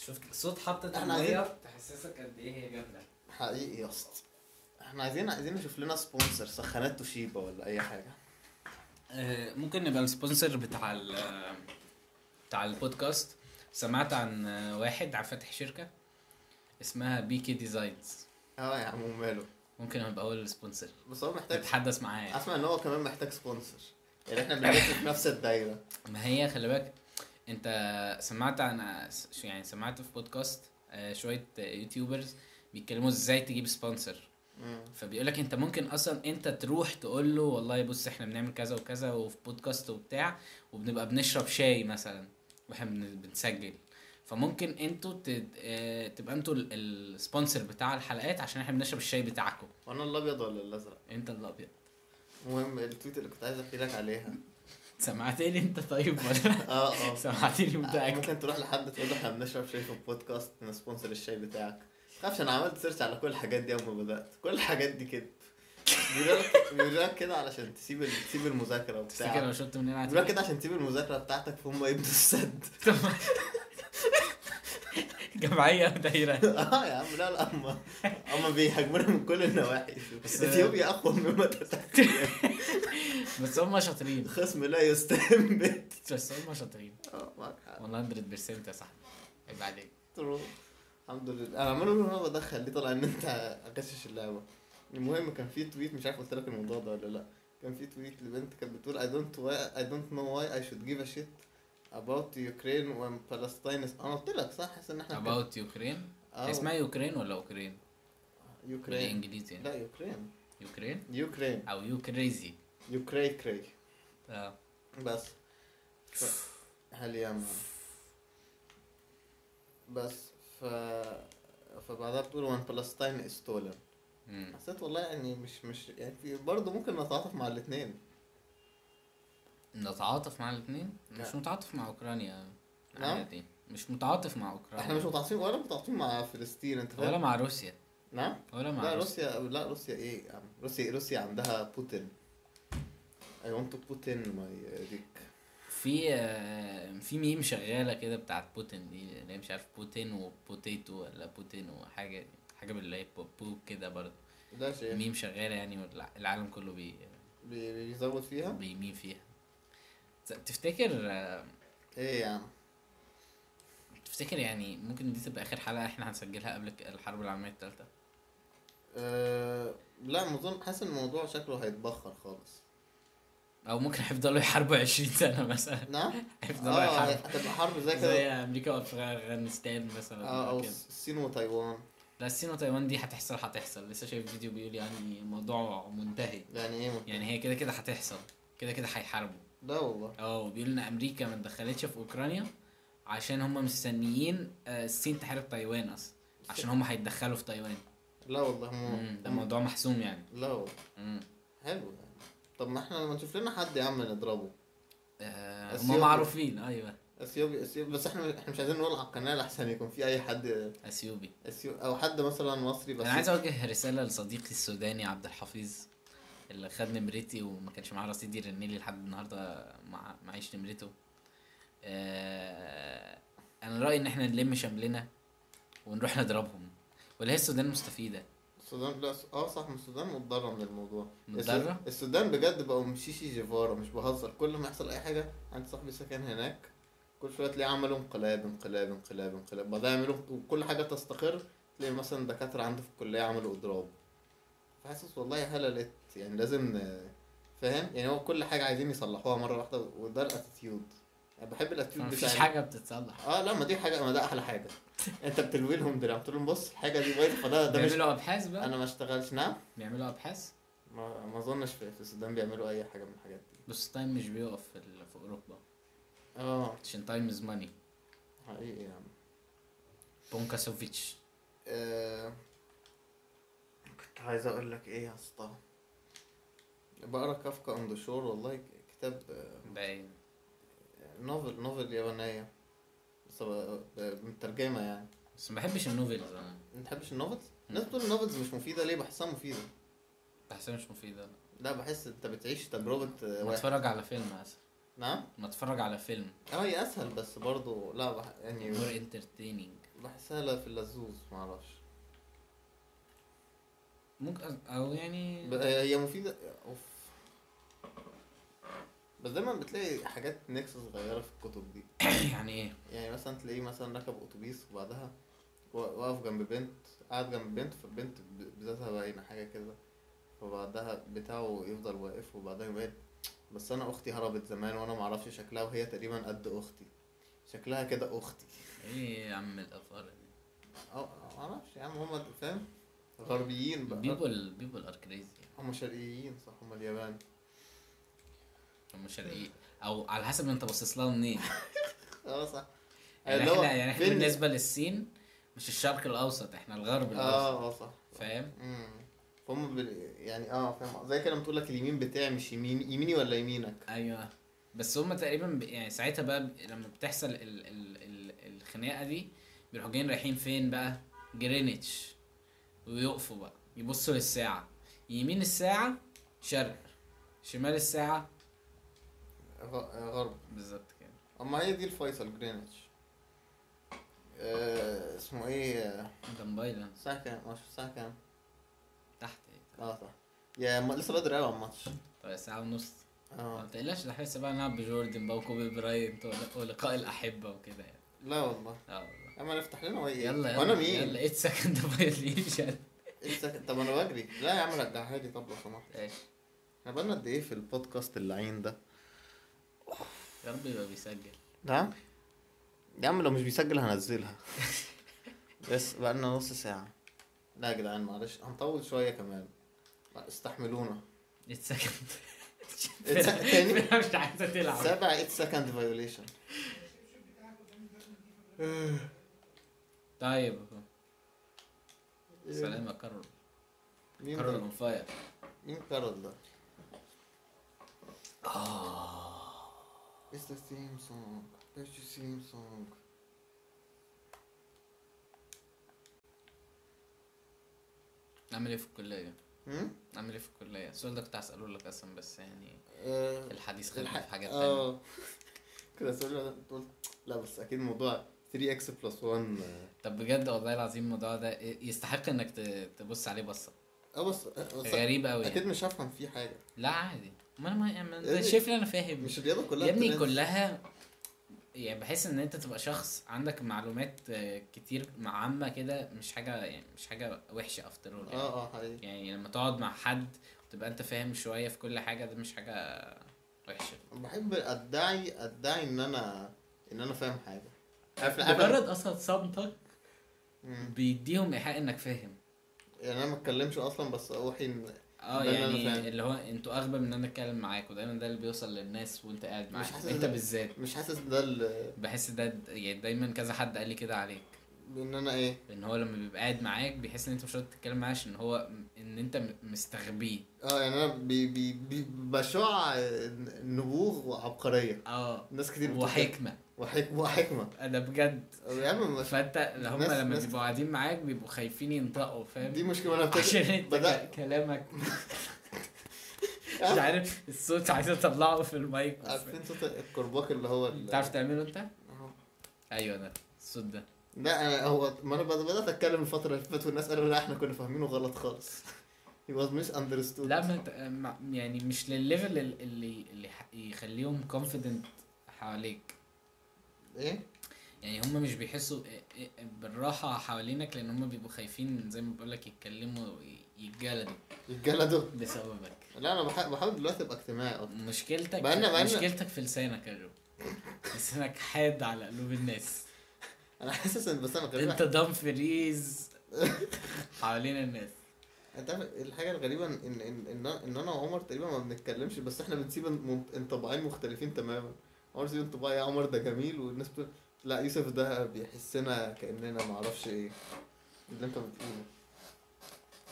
شفت صوت حطت
إحنا
المية تحسسك قد
إيه
ايه هي جامده
حقيقي يا اسطى احنا عايزين عايزين نشوف لنا سبونسر سخانات توشيبا ولا اي حاجه
آه، ممكن نبقى السبونسر بتاع ال بتاع البودكاست سمعت عن آه، واحد ع- فاتح شركة اسمها بي كي ديزاينز
اه يا عم وماله
ممكن ابقى اول سبونسر
بس هو محتاج
نتحدث معاه يعني.
اسمع ان هو كمان محتاج سبونسر يعني احنا بنلف في نفس الدايره
ما هي خلي بالك انت سمعت عن آه، س- يعني سمعت في بودكاست آه، شوية آه، يوتيوبرز بيتكلموا ازاي تجيب سبونسر
مم.
فبيقول لك انت ممكن اصلا انت تروح تقول له والله بص احنا بنعمل كذا وكذا وفي بودكاست وبتاع وبنبقى بنشرب شاي مثلا واحنا بن- بنسجل فممكن انتوا ت- اه، تبقى انتوا ال- السبونسر بتاع الحلقات عشان احنا بنشرب الشاي بتاعكم
وانا الابيض ولا الازرق
انت الابيض
المهم التويت اللي كنت عايز احكي لك عليها
سمعت لي انت طيب ولا
اه اه
سمعت لي متاكد
ممكن تروح لحد تقول له احنا بنشرب شاي في البودكاست نسبونسر الشاي بتاعك تخافش انا عملت سيرش على كل الحاجات دي اول ما بدات كل الحاجات دي كده بيقولك- بيقولك كده علشان تسيب ال- تسيب المذاكره
تفتكر لو
بتاعتك
شفت مننا
بيقولك
هتقول-
كده عشان تسيب المذاكره بتاعتك فهم يبنوا السد
جمعيه دايره
اه يا عم لا لا اما اما بيهاجمونا من كل النواحي
بس-
اثيوبيا اقوى مما تتخيل
بس هم شاطرين
خصم لا يستهان به
بس هم شاطرين
اه معاك حق
100% يا صاحبي عيب عليك
ترو. الحمد لله انا عمال اقول ان انا بدخل ليه طلع ان انت غشش اللعبه المهم كان في تويت مش عارف قلت لك الموضوع ده ولا لا كان في تويت لبنت كانت بتقول I don't why I don't know why I should give a shit about Ukraine when Palestine is انا قلت لك صح حاسس ان احنا كده.
اباوت يوكرين
اه
اسمها يوكرين ولا اوكرين؟
يوكرين
بالانجليزي يعني
لا يوكرين
يوكرين
يوكرين
او يو كريزي
يوكري كري
اه
بس ف- هل يعمل بس ف فبعدها بتقول when Palestine is stolen
مم.
حسيت والله يعني مش مش يعني في- برضه ممكن نتعاطف مع الاثنين
نتعاطف مع الاثنين مش
لا.
متعاطف مع اوكرانيا
نعم؟
عادي مش متعاطف مع
احنا مش
اوكرانيا
متعاطفين ولا متعاطفين مع فلسطين انت
ولا
فاهم؟
مع روسيا
نعم
ولا مع
لا
روسيا
روسيا لا روسيا ايه يا عم روسيا إيه؟ روسيا عندها بوتين I want to Putin my dick
في آه، في ميم شغاله كده بتاعت بوتين دي اللي هي مش عارف بوتين وبوتيتو ولا بوتين وحاجه حاجه بالله بوب كده برضه
لا شيء
ميم شغاله يعني والع- العالم كله بي
بي- بيزود فيها
بيميم فيها تفتكر آه،
ايه يا عم
تفتكر يعني ممكن دي تبقى اخر حلقه احنا هنسجلها قبل ك- الحرب العالميه الثالثه
أه لا مظن حاسس ان الموضوع شكله هيتبخر خالص
او ممكن هيفضلوا يحاربوا 20 سنه مثلا
نعم
هيفضلوا
اه
يحاربوا
هتبقى حرب زي
زي
كده
امريكا وافغانستان مثلا
اه او
كده.
الصين وتايوان
لا الصين وتايوان دي هتحصل هتحصل لسه شايف فيديو بيقول يعني الموضوع منتهي
يعني ايه ممكن؟
يعني هي كده كده هتحصل كده كده هيحاربوا
لا والله
اه وبيقول ان امريكا ما دخلتش في اوكرانيا عشان هم مستنيين آه، الصين تحارب تايوان اصلا عشان هم هيتدخلوا في تايوان
لا والله هم-
مم، ده
هم-
موضوع محسوم يعني
لا والله
مم.
حلو يعني طب ما احنا لما نشوف لنا حد يا عم نضربه
آه،
أثيوبيا.
هم معروفين ايوه
اثيوبي اثيوبي بس احنا احنا مش عايزين نقول على القناه لحسن يكون في اي حد
اثيوبي
اثيو او حد مثلا مصري بس
انا عايز اوجه رساله لصديقي السوداني عبد الحفيظ اللي خد نمرتي وما كانش معاه رصيد يرن لي لحد النهارده مع معيش نمرته آه، انا رايي ان احنا نلم شملنا ونروح نضربهم ولا هي السودان مستفيده
السودان لا س- اه صح من السودان متضرر من الموضوع
متضرر؟
الس- السودان بجد بقوا مشيشي جيفارا مش بهزر كل ما يحصل اي حاجه عندي صاحبي ساكن هناك كل شويه تلاقيه عملوا انقلاب انقلاب انقلاب انقلاب بعدها يعملوا وكل حاجه تستقر تلاقي مثلا دكاتره عنده في الكليه عملوا اضراب فحاسس والله هللت يعني لازم ن- فاهم يعني هو كل حاجه عايزين يصلحوها مره واحده وده الاتيتيود انا بحب الاتيتيود
مفيش
بتاع
حاجه بتتصلح
اه لا ما دي حاجه ما ده احلى حاجه انت بتلوي لهم دراع بتقول لهم بص الحاجه دي بايظه فده ده مش
بيعملوا ابحاث بقى
انا ما اشتغلش نعم
بيعملوا ابحاث
ما ما اظنش في في السودان بيعملوا اي حاجه من الحاجات دي
بس التايم مش بيقف في, ال- في اوروبا
اه
عشان تايم از ماني
حقيقي يعني
بونكاسوفيتش
آه، كنت عايز اقول لك ايه يا اسطى بقرا كافكا اون ذا شور والله كتاب آه،
باين
نوفل نوفل يابانيه بس ب- ب- مترجمه يعني
بس ما بحبش النوفلز انا
ما بتحبش النوفلز؟ الناس بتقول النوفلز مش مفيده ليه بحسها مفيده
بحسها مش مفيده
لا بحس انت بتعيش تجربه آه،
ما
واحد
اتفرج على فيلم مثلا
نعم
ما اتفرج على فيلم
اه هي اسهل بس برضه لا بح... يعني
مور انترتيننج
بحسها لا في اللزوز معرفش
ممكن او يعني
ب- آه، هي مفيدة اوف بس دايما بتلاقي حاجات نكس صغيرة في الكتب دي
يعني ايه
يعني مثلا تلاقيه مثلا ركب اتوبيس وبعدها وا- واقف جنب بنت قاعد جنب بنت فالبنت ب- بذاتها باينة حاجة كده وبعدها بتاعه يفضل واقف وبعدها يبين بس انا اختي هربت زمان وانا معرفش شكلها وهي تقريبا قد اختي شكلها كده اختي
ايه يا عم الافكار دي
اه معرفش يا عم هما فاهم غربيين بقى
بيبل بيبل ار كريزي
هما شرقيين صح هما اليابان
هم شرقيين او على حسب انت باصص لها منين
اه صح
يعني
اللي هو
احنا يعني احنا
فين-
بالنسبه للصين مش الشرق الاوسط احنا الغرب الاوسط
اه اه صح
فاهم
امم فهم بال... يعني اه فاهم زي كده بتقول لك اليمين بتاعي مش يمين يميني ولا يمينك
ايوه بس هم تقريبا ب... يعني ساعتها بقى ب... لما بتحصل ال... ال... ال... الخناقه دي بيروحوا جايين رايحين فين بقى جرينتش ويقفوا بقى يبصوا للساعه يمين الساعه شرق شمال الساعه
غ- غرب
بالظبط كده
اما هي دي الفيصل جرينتش آه اسمه ايه آه،
ده موبايل
الساعة كام؟ مش الساعة كام؟
تحت ايه
اه صح يا ما لسه بدري قوي على الماتش
طيب ساعه ونص ما
اه
تقلقش ده احنا لسه بقى نلعب بجوردن بقى وكوبي براينت ول- ولقاء الاحبه وكده يعني
لا والله
اه والله
اما نفتح لنا وايه
يلا يلا
وانا مين؟
يلا ايت سكند فايليشن
إيه السكة؟ طب انا بجري لا يا عم رجعها لي طب لو سمحت احنا بقالنا قد ايه في البودكاست اللعين ده؟
يا رب يبقى بيسجل
نعم يا عم لو مش بيسجل هنزلها بس بقالنا نص ساعة لا يا جدعان معلش هنطول شوية كمان استحملونا
ايت سكند
إيت سكند تاني؟
مش عايزه تلعب
سبع 8 سكند فايوليشن
طيب سلام يا كارول
مين
كارول
ده؟
اون فاير
مين كارول ده؟
اه
It's the theme song. That's the theme song.
نعمل ايه في الكليه؟
هم؟
نعمل ايه في الكليه؟ السؤال ده كنت هساله لك اصلا بس يعني
آه،
الحديث خلينا في حاجات تانية
اه كده سؤال تقول لا بس اكيد موضوع 3 اكس بلس 1
طب بجد والله العظيم الموضوع ده إيه؟ يستحق انك ت- تبص عليه بصه
اه بس آه، بس
غريب يعني. قوي
اكيد مش هفهم فيه حاجة
لا عادي ما انا ما ما-
يا
انت
ابني-
شايف ان انا فاهم
إيه؟ مش الرياضة كلها
يا ابني
بتبان-
كلها يعني بحس ان انت تبقى شخص عندك معلومات آه، كتير مع عامه كده مش حاجه يعني مش حاجه وحشه افتر اول يعني.
اه اه حقيقي
يعني لما تقعد مع حد وتبقى انت فاهم شويه في كل حاجه ده مش حاجه وحشه
بحب ادعي ادعي ان انا ان انا فاهم حاجه عارف العالم-
مجرد اصلا صمتك
مم.
بيديهم ايحاء انك فاهم
يعني انا ما اتكلمش اصلا بس اوحي ان
اه
ده اللي أنا
يعني
فاهم.
اللي هو انتوا اغبى من ان انا اتكلم معاكوا دايما ده اللي بيوصل للناس وانت قاعد
حاسس
معاهم
إن
انت
أنا-
بالذات
مش حاسس ده ال-
بحس ده د- يعني دايما كذا حد قال لي كده عليك
ان انا ايه
ان هو لما بيبقى قاعد معاك بيحس ان انت مش راضي تتكلم معاه عشان هو م- ان انت م- مستغبيه
اه يعني انا بي بي بي بشع نبوغ وعبقريه
اه
ناس كتير بتقول كده.
وحكمه
وحك... وحكمه
انا بجد
يا عم مش...
فانت اللي هم
ناس-
لما
ناس-
بيبقوا قاعدين معاك بيبقوا خايفين ينطقوا
دي
فاهم
مشكله انا بتك...
عشان انت
بدأ
ك- كلامك مش عارف الصوت عايز اطلعه في المايك بس
عارفين صوت الكرباك اللي هو ال-
تعرف تعمله انت؟
أهو.
ايوه ده الصوت ده
لا أنا هو ما انا بدات اتكلم الفتره اللي فاتت والناس قالوا لا احنا كنا فاهمينه غلط خالص he was misunderstood
لا ما انت- ما- يعني مش للليفل ال- اللي اللي ح- يخليهم كونفيدنت حواليك
ايه
يعني هم مش بيحسوا ا- ا- بالراحة حوالينك لأن هم بيبقوا خايفين زي ما بقولك يتكلموا وي- يتجلدوا
يتجلدوا
بسببك
لا انا بح- بحاول دلوقتي ابقى اجتماعي اكتر
مشكلتك
بقالنا- بقالنا-
مشكلتك في لسانك يا جو لسانك حاد على قلوب الناس
انا حاسس ان بس انا غريب
انت دام فريز حوالين الناس
انت عارف الحاجه الغريبه ان ان ان, ان انا وعمر تقريبا ما بنتكلمش بس احنا بنسيب ان- انطباعين مختلفين تماما عمر سيب انطباع يا عمر ده جميل والناس بتقول لا يوسف ده بيحسنا كاننا ما اعرفش ايه اللي انت بتقوله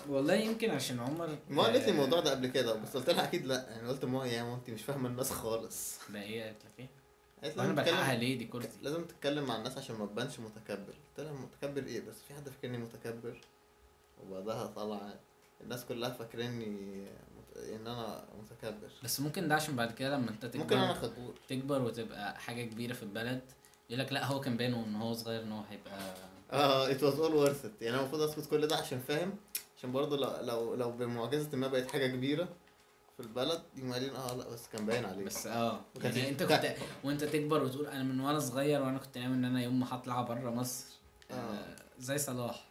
والله يمكن عشان عمر
ما قالت لي
آه،
الموضوع ده قبل كده بس قلت لها اكيد لا يعني قلت ما يا ما انت مش فاهمه الناس خالص
ده ايه قالت لك ايه؟
قالت
وانا
لازم تتكلم-
بلحقها ليه دي كرسي؟
لازم تتكلم مع الناس عشان ما تبانش متكبر قلت لها متكبر ايه بس في حد فاكرني متكبر وبعدها طلع الناس كلها فاكرني مت... ان انا متكبر
بس ممكن ده عشان بعد كده لما انت
ممكن انا
تكبر
خجول
تكبر وتبقى حاجه كبيره في البلد يقول لك لا هو كان باين وان هو صغير ان هو هيبقى
اه ات واز اول ورث يعني انا المفروض اسكت كل ده عشان فاهم عشان برضه لو لو لو بمعجزه ما بقت حاجه كبيره في البلد يقوموا قايلين اه لا بس كان باين عليك
بس اه
وكانت-
يعني انت كنت وانت تكبر وتقول انا من وانا صغير وانا كنت ناوي ان انا يوم ما هطلع بره مصر آه، زي صلاح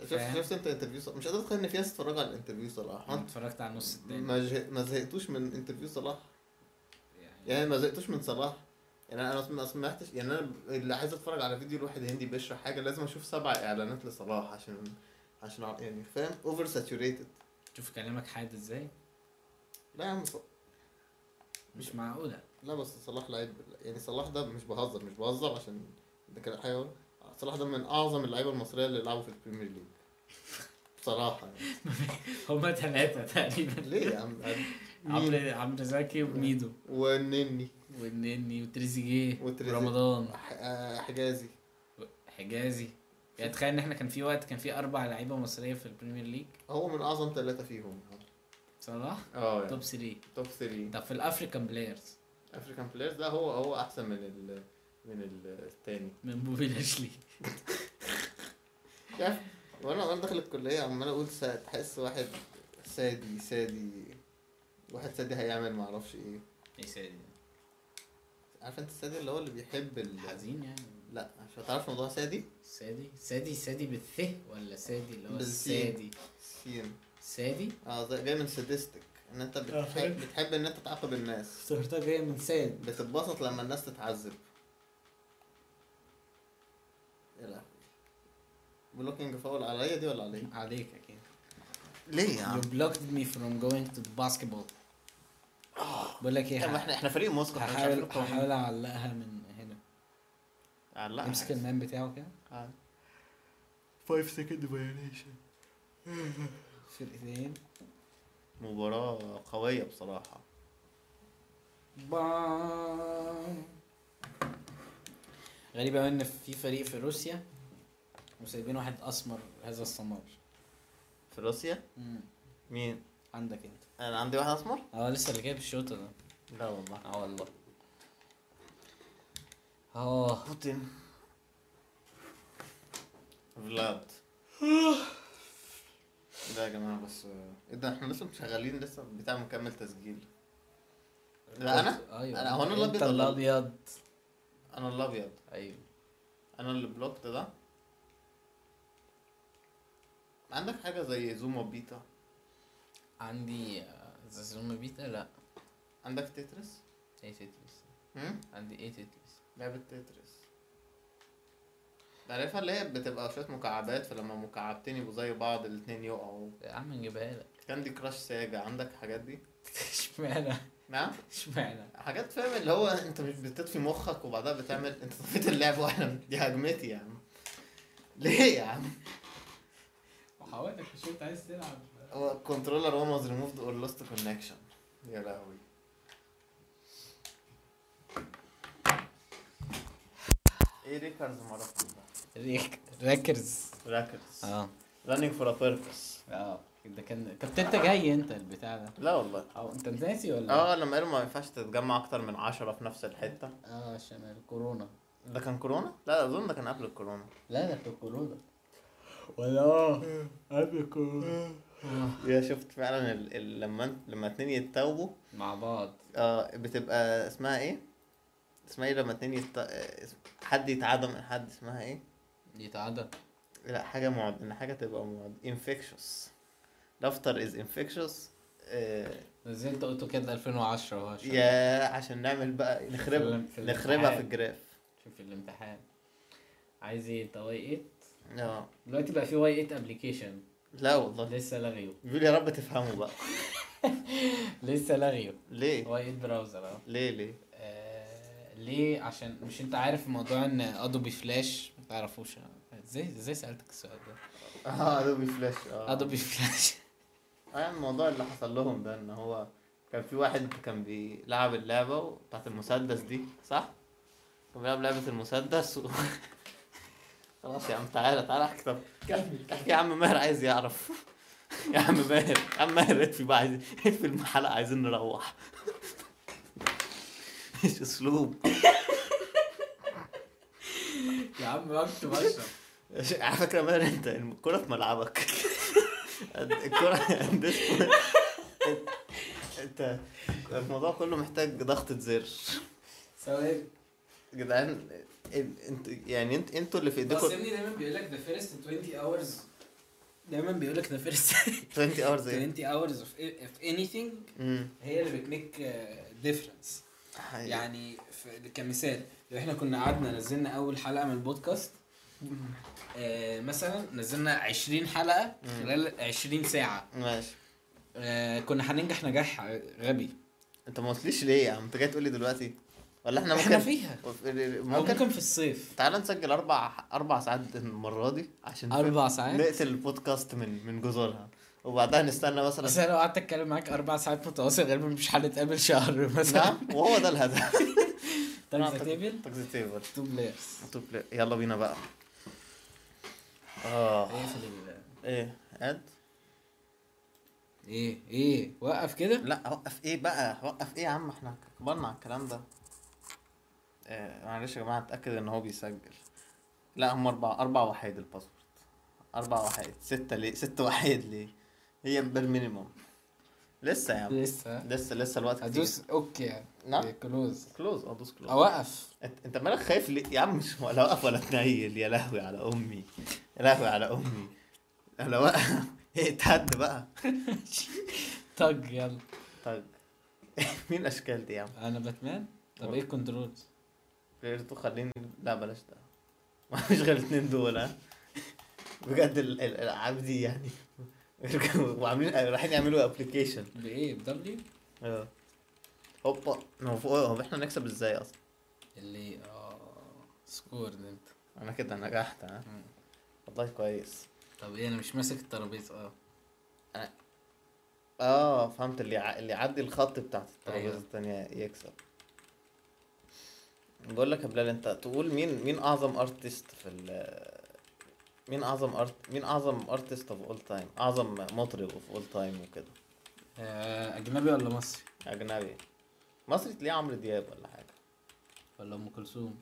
شفت
فاهم.
شفت انت انترفيو صلاح مش قادر اتخيل ان في ناس اتفرجوا على الانترفيو صلاح
انا
وانت
اتفرجت على النص التاني
آه. ما زه- ما زهقتوش من انترفيو صلاح
يعني
يعني ما زهقتوش من صلاح يعني انا أصلاً ما سمعتش يعني انا اللي عايز اتفرج على فيديو لواحد هندي بيشرح حاجه لازم اشوف سبع اعلانات لصلاح عشان عشان أع- يعني فاهم اوفر ساتوريتد
شوف كلامك حاد ازاي
لا يا عم ص-
مش معقوله
لا بس صلاح لعيب يعني صلاح ده مش بهزر مش بهزر عشان ده كان حاجه أقول. صلاح ده من اعظم اللعيبه المصريه اللي لعبوا في البريمير ليج بصراحه يعني.
هما ثلاثه تقريبا
ليه يا عم يعني مين؟
عمرو عمرو زكي وميدو
ونني
والنني وتريزيجيه
وتريزيجيه.
ورمضان
ح- آه، حجازي
حجازي يعني تخيل ان احنا كان في وقت كان في اربع لعيبه مصريه في البريمير ليج
هو من اعظم ثلاثه فيهم
صلاح
اه يعني.
توب 3
توب 3
طب في الافريكان بلايرز
افريكان بلايرز ده هو هو احسن من ال من ال- التاني
من بوبي لاشلي
شايف يعني وانا وانا داخل الكليه عمال اقول سا- تحس واحد سادي سادي واحد سادي هيعمل ما اعرفش ايه
ايه سيدي
عارف انت السادي اللي هو اللي بيحب ال...
حزين يعني
لا مش هتعرف موضوع سادي
سادي سادي سادي بالث ولا سادي اللي هو
بالسين.
السادي
سين
سادي
اه ده جاي من سادستك ان انت
آه،
بتحب
فاهم.
بتحب ان انت تعاقب الناس
افتكرتها جايه من ساد
بتتبسط لما الناس تتعذب يا لهوي بلوكينج فاول عليا دي ولا عليا؟
عليك اكيد
ليه يا
you blocked me from going to the basketball بقول لك ايه
طب
ه-
احنا احنا فريق موسكو احنا مش عارفين
هحاول
القوانين.
هحاول اعلقها من هنا
علقها
امسك المام بتاعه كده
5 سكند فايوليشن
فرقتين
مباراة قوية بصراحة
بام. غريبة أوي إن في فريق في روسيا وسايبين واحد أسمر هذا السمار
في روسيا مين؟
عندك أنت
انا عندي واحد اسمر؟
اه لسه اللي جايب الشوطة ده
لا والله
اه والله اه
بوتين فلاد لا يا جماعة بس ايه ده احنا لسه شغالين لسه بتاع مكمل تسجيل لا انا؟
ايوه
أنا- هو أنا أيوة. الأبيض
انت
ولا-
الابيض
انا الابيض
ايوه
انا اللي بلوكت ده عندك حاجة زي زوما بيتا
عندي آه، زازوما بيتا لا
عندك تترس؟
ايه تتلس
هم؟
عندي ايه تتلس
لعبة تترس عارفها اللي هي بتبقى شوية مكعبات فلما مكعبتين يبقوا زي بعض الاتنين يقعوا
يا عم نجيبها لك
كاندي كراش ساجا عندك حاجات دي
اشمعنى
نعم
اشمعنى
حاجات فاهم اللي هو انت مش بتطفي مخك وبعدها بتعمل انت طفيت اللعبة واحنا دي هجمتي يا عم ليه يا عم
وحاولت مش انت عايز تلعب
هو كنترولر هو ماز ريموفد اور لوست كونكشن يا لهوي ايه ريكرز ماراثون ده؟
ريك راكرز
راكرز
اه
رانينج فور ا بيربس
اه ده كان كنت انت جاي انت البتاع ده
لا والله
او انت ناسي ولا
اه لما قالوا ما ينفعش تتجمع اكتر من عشرة في نفس الحتة
اه عشان الكورونا
ده كان كورونا؟ لا اظن ده كان قبل الكورونا
لا ده في الكورونا ولا اه قبل الكورونا
آه.
يا شفت فعلا ال... ال... لما انت- لما اتنين يتوبوا
مع بعض
آه بتبقى اسمها ايه؟ اسمها ايه لما اتنين يت... آه، اس- حد يتعدى من حد اسمها ايه؟
يتعدى
لا حاجة معد ان حاجة تبقى معد انفكشوس لافتر از انفكشوس
نزلت اوتوكاد 2010 اهو عشان-
آه، يا عشان نعمل بقى نخربها
في الامتحان.
نخربها في الجراف
عشان في الامتحان عايز ايه انت واي 8
اه
إيه دلوقتي بقى في واي 8 ابلكيشن
لا والله
لسه لاغيه
بيقول يا رب تفهموا بقى
لسه لاغيه
ليه
هو ايه
إيه
البراوزر اهو
ليه ليه
آه،
ليه عشان مش انت عارف موضوع ان ادوبي فلاش ما تعرفوش ازاي ازاي سالتك السؤال ده
اه ادوبي فلاش اه
ادوبي فلاش
اه يعني الموضوع اللي حصل لهم ده ان هو كان في واحد كان بيلعب اللعبه بتاعت المسدس دي صح؟ كان بيلعب لعبه المسدس و... خلاص يا عم تعالى تعالى احكي طب
كمل
احكي يا عم ماهر عايز يعرف يا عم ماهر يا عم ماهر اقفل بقى عايز اقفل الحلقه عايزين نروح ايش اسلوب
يا عم اكتب اشرب
على فكره ماهر انت الكره في ملعبك الكره at this point- انت- انت الموضوع كله محتاج ضغطه زر
ثواني
جدعان ال- انت يعني انت انتوا اللي في
بس
ايديكم
يا ابني دايما بيقول لك ذا فيرست 20 hours دايما بيقول لك ذا فيرست
20 اور زي
20 hours of, of anything
امم
هي اللي بتميك ديفرنس
أيوة.
يعني في- كمثال لو احنا كنا قعدنا نزلنا اول حلقه من البودكاست آه مثلا نزلنا 20 حلقه
مم.
خلال 20 ساعه
ماشي
آه كنا هننجح نجاح غبي
انت ما قلتليش ليه يا عم انت جاي تقول لي دلوقتي ولا احنا
احنا
ممكن
فيها
ممكن,
أو
ممكن
ممكن في الصيف
تعالى نسجل اربع اربع ساعات المره دي عشان
اربع ساعات
نقتل البودكاست من من جذورها وبعدها نستنى مثلا
بس انا لو قعدت اتكلم معاك اربع ساعات متواصل غالبا مش هنتقابل شهر مثلا
نعم وهو ده الهدف
تايمز تيبل
تكزي تيبل
تو بلايرز
طب لا، يلا بينا بقى اه
اقفل إيه ال-
ايه قد
ايه ايه وقف كده
لا وقف ايه بقى وقف ايه يا عم احنا كبرنا على الكلام ده آه معلش يا جماعه اتاكد ان هو بيسجل لا هم اربع اربع وحيد الباسورد اربع وحيد ستة ليه ست وحيد ليه هي بالمينيموم لسه يا عم
لسه
لسه لسه الوقت كتير.
هدوس اوكي يعني
نعم
كلوز آه،
كلوز ادوس كلوز
اوقف
انت انت مالك خايف ليه يا عم مش ولا واقف ولا تنيل يا لهوي على امي يا لهوي على امي انا واقف ايه اتحد بقى
طج يلا
طيب مين الاشكال دي يا عم
انا باتمان طب
أوكي.
ايه الكنترولز
غير تو خليني لا بلاش ده ما فيش غير الاثنين دول ها بجد ال- ال- الالعاب دي يعني وعاملين رايحين يعملوا ابلكيشن
بايه بدبليو
اه هوبا هو فوق- هو احنا نكسب ازاي اصلا
اللي اه سكور ده انت
انا كده نجحت ها
مم.
والله كويس
طب ايه انا مش ماسك الترابيزه اه
اه فهمت اللي ع... اللي يعدي الخط بتاعت الترابيزه
أيوة.
التانية يكسب بقول لك يا بلال انت تقول مين مين اعظم ارتست في ال مين اعظم ارت مين اعظم ارتست اوف اول تايم اعظم مطرب اوف اول تايم وكده
آه، اجنبي ولا مصري
اجنبي مصري تلاقيه عمرو دياب ولا حاجه
ولا ام كلثوم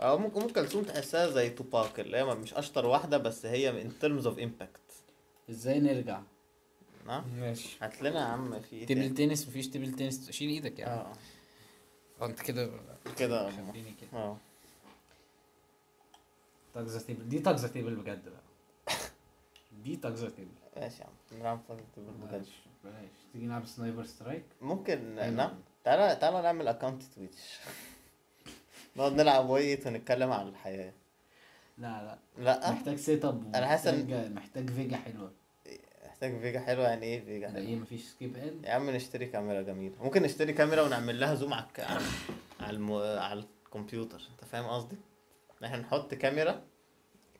او ممكن ام كلثوم تحسها زي توباك اللي هي مش اشطر واحده بس هي in terms of impact
ازاي نرجع
نعم
ماشي
هات لنا يا عم في ايه
تيبل
تاني؟
تنس مفيش تيبل تنس شيل ايدك يا عم
اه
آه، انت كده
كده اه
خليني كده
اه
تاكزا تيبل دي تاكزا تيبل بجد بقى دي تاكزا تيبل
ماشي يا عم نلعب فاضي
آه.
بجد
بلاش بلاش تيجي نلعب سنايبر سترايك
ممكن
أيوة.
نعم تعالى تعالى نعمل اكونت تويتش نقعد نلعب ويت ونتكلم عن الحياة
لا لا
لا
محتاج سيت اب
أه؟ أنا حاسس إن-
ومحتاج- محتاج فيجا حلوه
محتاج فيجا حلوة يعني ايه فيجا
ده
حلوة
ايه مفيش سكيب ان
يا عم نشتري كاميرا جميلة ممكن نشتري كاميرا ونعمل لها زوم على الك- على على, الم... على الكمبيوتر انت فاهم قصدي؟ إن احنا نحط كاميرا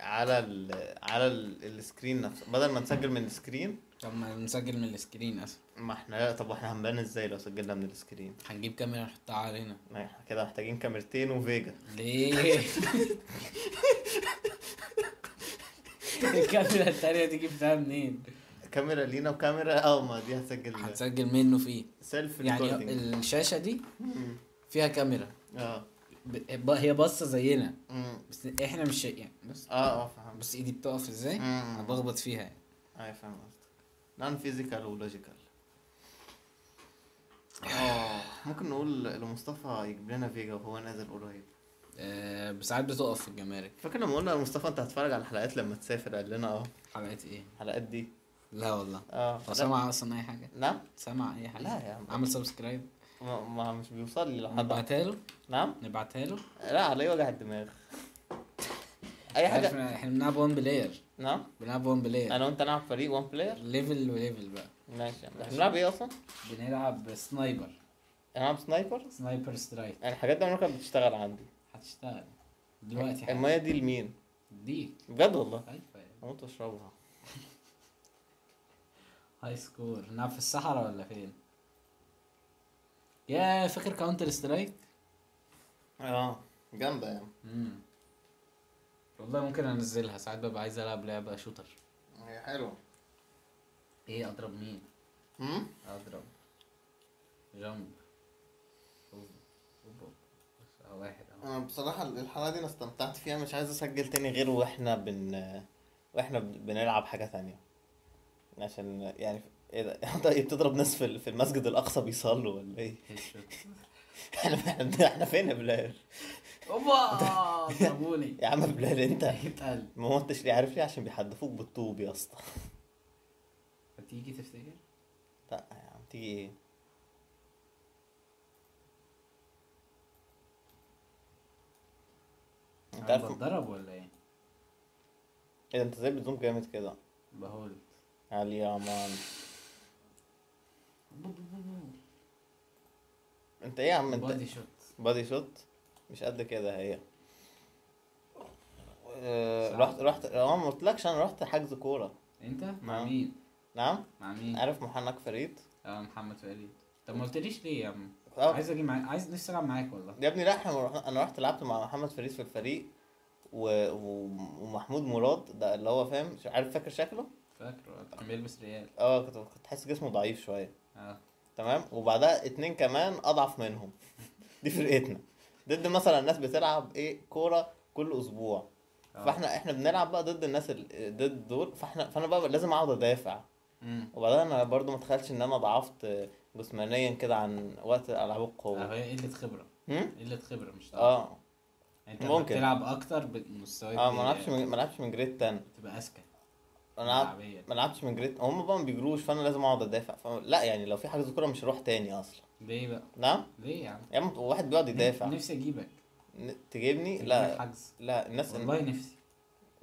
على ال... على ال... السكرين نفسه بدل ما نسجل من السكرين
طب ما نسجل من السكرين اصلا
ما احنا طب واحنا هنبان ازاي لو سجلنا من السكرين؟
هنجيب كاميرا نحطها علينا
ما احنا كده محتاجين كاميرتين وفيجا
ليه الكاميرا التانية دي جبتها منين؟
كاميرا لينا وكاميرا اه ما دي هتسجل
هتسجل منه فيه
سيلف
يعني
ريكوردنج
الشاشة دي فيها كاميرا
اه
ب- ب- هي باصة زينا
مم.
بس احنا مش شايف- يعني بس
اه اه فهمت
بس إيه؟ ايدي بتقف ازاي؟ انا
مم.
بخبط فيها يعني
ايوه فاهم قصدك نون فيزيكال ولوجيكال آه، ممكن نقول لمصطفى يجيب لنا فيجا وهو نازل قريب
أه بساعات بتقف في الجمارك
فاكر لما قلنا لمصطفى انت هتتفرج على الحلقات لما تسافر قال لنا اه
حلقات ايه؟
الحلقات دي
لا والله
اه
هو
لا.
سمع اصلا اي حاجة؟
نعم
سمع اي حاجة؟
لا يا عم.
عمل سبسكرايب
ما, ما مش بيوصل لي لحد
نبعتها له
نعم
نبعتها له
لا على اي وجع الدماغ اي
عارف
حاجه
احنا إحنا بنلعب وان بلاير
نعم
بنلعب وان بلاير
إيه.
انا وانت نلعب فريق وان بلاير
ليفل وليفل بقى
ماشي احنا بنلعب ايه اصلا؟
بنلعب سنايبر
بنلعب سنايبر
سنايبر سترايك
يعني الحاجات دي عمرها كانت بتشتغل عندي
هتشتغل دلوقتي حالا.
الميه دي لمين؟
دي
بجد والله
ايوه
اموت واشربها
هاي سكور نلعب في الصحراء ولا فين؟ يا فاكر كاونتر سترايك؟
اه جامده يعني
امم والله ممكن انزلها ساعات ببقى عايز العب لعبه شوتر
هي حلوه
ايه اضرب مين؟
امم
اضرب جامب أوب، أوب، أوب. واحد أهو.
انا بصراحه الحلقه دي انا استمتعت فيها مش عايز اسجل تاني غير واحنا بن واحنا بن- بنلعب حاجه تانية عشان يعني ايه ده انت إيه بتضرب ناس في في المسجد الاقصى بيصلوا ولا ايه
هيد شوت.
احنا احنا احنا فين يا بلال
اوبا ضربوني
يا عم بلال انت
اتقل
ما موتش ليه عارف ليه عشان بيحدفوك بالطوب يا اسطى
هتيجي تفتكر؟
لا يا عم تيجي ايه انت
انا
عارف
بتضرب ولا ايه؟
ايه ده انت ازاي بتزوم جامد كده
بهول
علي يا مان انت ايه يا عم انت
بادي شوت
بادي شوت مش قد كده هي آه،
صح.
رحت رحت اه ما قلتلكش انا رحت حجز كوره
انت مع
آه.
مين؟
نعم
مع مين؟
عارف محنك فريد
اه محمد فريد طب ما قلتليش ليه يا عم؟
اه
عايز اجي معاك عايز نفسي العب معاك والله
يا ابني لا احنا ما رحنا- انا رحت لعبت مع محمد فريد في الفريق و... و... ومحمود مراد ده اللي هو فاهم مش عارف فاكر شكله
فاكره كان بيلبس ريال
اه كنت كنت حاسس جسمه ضعيف شويه
اه
تمام وبعدها اتنين كمان اضعف منهم دي فرقتنا ضد مثلا الناس بتلعب ايه كوره كل اسبوع
آه.
فاحنا احنا بنلعب بقى ضد الناس ال- ضد دول فاحنا فانا بقى لازم اقعد ادافع
امم
وبعدين انا برضو ما اتخيلش ان انا ضعفت جسمانيا كده عن وقت العاب
آه،
القوه
هي قله خبره
هم؟
قله خبره مش ضعف.
اه
انت لما
ممكن.
بتلعب اكتر بمستواك
اه ما لعبش من- ما لعبش من جريد 10
تبقى اذكى
انا لعب-
لعبيا.
ما لعبش من جريد هم بقى ما بيجروش فانا لازم اقعد ادافع فأنا- لا يعني لو في حاجه كوره مش هروح تاني اصلا
ليه بقى
نعم
ليه يا عم
يا عم واحد بيقعد يدافع
نفسي اجيبك
ن- تجيبني
أجيبك
لا
حجز
لا الناس
والله نفسي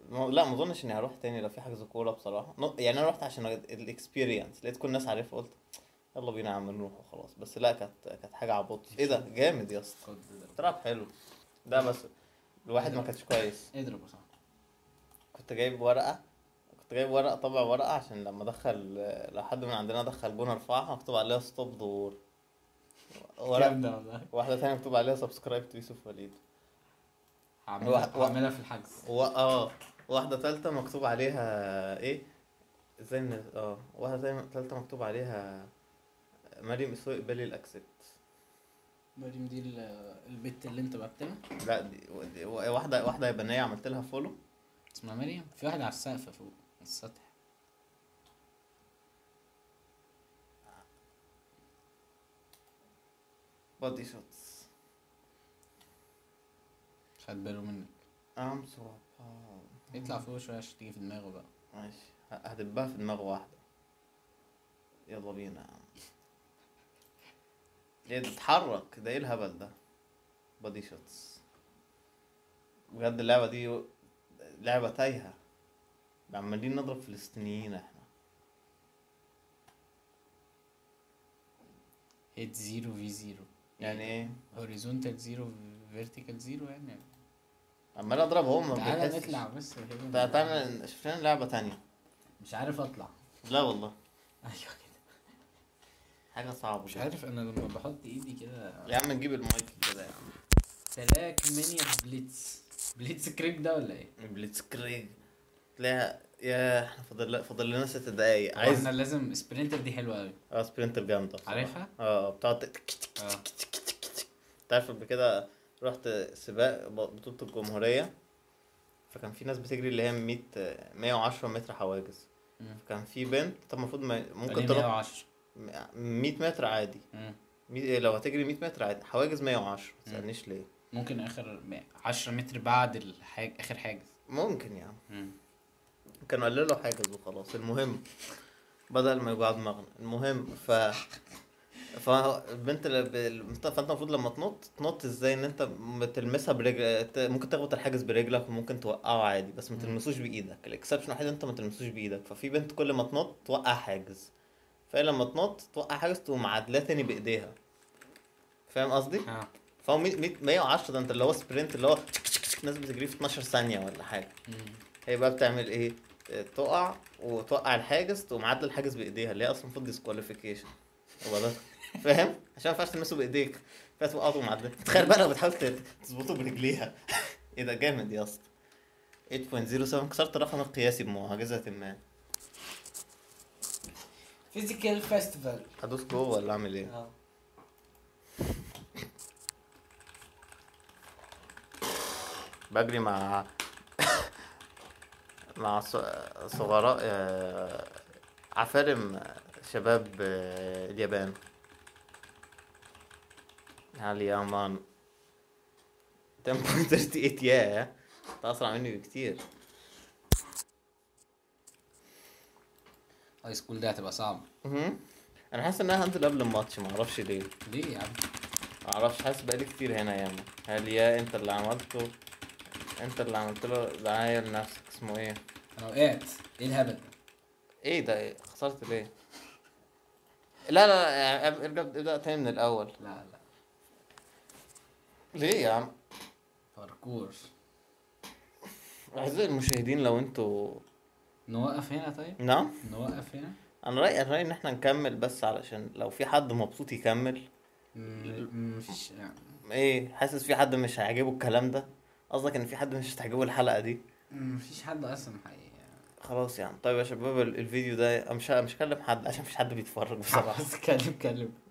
م- لا ما اظنش اني هروح تاني لو في حجز كوره بصراحه نو- يعني انا رحت عشان الاكسبيرينس لقيت كل الناس عارفه قلت يلا بينا يا عم نروح وخلاص بس لا كانت كانت حاجه عبط ايه ده جامد يا اسطى
خد ده.
بتلعب حلو ده بس الواحد ما كانش كويس
اضرب يا صاحبي
كنت جايب ورقه كنت جايب ورقه طبع ورقه عشان لما ادخل لو حد من عندنا دخل جون ارفعها مكتوب عليها ستوب دور ورقه
جامده والله
واحده ثانيه مكتوب عليها سبسكرايب تو يوسف وليد
هعملها
و- و-
هعملها في الحجز
و... اه واحدة تالتة مكتوب عليها ايه زي الناس اه واحدة تانية- تالتة مكتوب عليها مريم اسوء اقبالي الاكسبت
مريم دي ال- البت اللي انت بعتها
لا دي, دي واحدة واحدة يابانية عملت لها فولو
اسمها مريم في واحد على السقف فوق على السطح
بادي شوتس
خد باله منك
ام سو
اطلع فوق شويه عشان تيجي في دماغه بقى
ماشي ه- هدبها في دماغ واحدة يلا بينا يا عم ليه ده اتحرك ده ايه الهبل ده بادي شوتس بجد اللعبة دي لعبة تايهة عمالين نضرب فلسطينيين احنا
هيت زيرو في زيرو
يعني ايه
هوريزونتال زيرو فيرتيكال زيرو يعني
عمال اضرب هم ما
تعالى
بيحسش.
نطلع بس
تع-
كده.
تعالى شوف لنا لعبة تانية
مش عارف اطلع
لا والله
ايوه كده
حاجة صعبة
مش
جدا.
عارف انا لما بحط ايدي كده
يا عم نجيب المايك كده يا عم
تلاك مانيا بليتس بليتس كريك ده ولا
إيه؟
ايه؟
بليتس كريج تلاقيها يا احنا فاضل لنا- فاضل لنا ست دقايق
عايز
عايز
احنا لازم سبرينتر دي حلوه قوي
اه سبرنتر جامدة بصراحة.
عارفها؟
اه بتقعد تك-
آه.
اه
انت عارف قبل كده رحت سباق ب- بطولة الجمهورية فكان في ناس بتجري اللي هي 100 110 متر حواجز
مم. يعني
فكان في بنت طب المفروض ما- ممكن
ممكن
تروح
110
100 متر عادي
مم.
مي- لو هتجري 100 متر عادي حواجز 110 ما تسالنيش ليه
ممكن اخر 10 متر بعد الحاج اخر حاجز
ممكن يعني
مم.
كانوا قللوا حاجز وخلاص المهم بدل ما يوجع دماغنا المهم ف فالبنت اللي ب- فانت المفروض لما تنط تنط ازاي ان انت بتلمسها برجل ت- ممكن تخبط الحاجز برجلك وممكن توقعه عادي بس ما
مم.
تلمسوش بايدك الاكسبشن الوحيد إن انت ما تلمسوش بايدك ففي بنت كل ما تنط توقع حاجز فهي لما تنط توقع حاجز تقوم عادلاه تاني بايديها فاهم قصدي؟
اه
فهو 100 100 110 ده انت اللي هو سبرنت اللي هو ناس بتجري في 12 ثانيه ولا حاجه هي بقى بتعمل ايه؟ اه، تقع وتوقع الحاجز تقوم عادله الحاجز بايديها اللي هي اصلا المفروض ديسكواليفيكيشن فاهم؟ عشان ما ينفعش تلمسه بايديك فتوقع تقوم عادله تخيل بقى لو بتحاول ت- تظبطه برجليها ايه ده جامد يا اسطى 8.07 كسرت الرقم القياسي بمعجزه ما
فيزيكال فيستيفال
هدوس جوه ولا اعمل ايه؟
اه
بجري مع مع ص- صغراء آه، عفارم شباب آه، اليابان هل يا مان 10.38 يا انت اسرع مني بكتير
هاي سكول ده هتبقى صعب
مهم. انا حاسس ان انا هنزل قبل الماتش معرفش ليه
ليه يا عم؟
معرفش حاسس بقالي كتير هنا ياما هل يا انت اللي عملته انت اللي عملت له دعايه لنفسك اسمه ايه
انا وقعت ايه الهبل ده؟
ايه ده إيه؟ خسرت ليه؟ لا لا يعني أب- ارجع ابدا تاني من الاول
لا لا
ليه يا عم؟
باركور
اعزائي المشاهدين لو انتوا
نوقف هنا طيب
نعم
نوقف هنا
انا رايي انا رايي ان احنا نكمل بس علشان لو في حد مبسوط يكمل
م- مفيش يعني
ايه حاسس في حد مش هيعجبه الكلام ده قصدك ان في حد مش هتعجبه الحلقه دي
مفيش حد اصلا حقيقي
خلاص يعني طيب يا شباب ال- الفيديو ده أنا مش مش هكلم حد عشان مفيش حد بيتفرج بصراحه
خلاص كلم كلم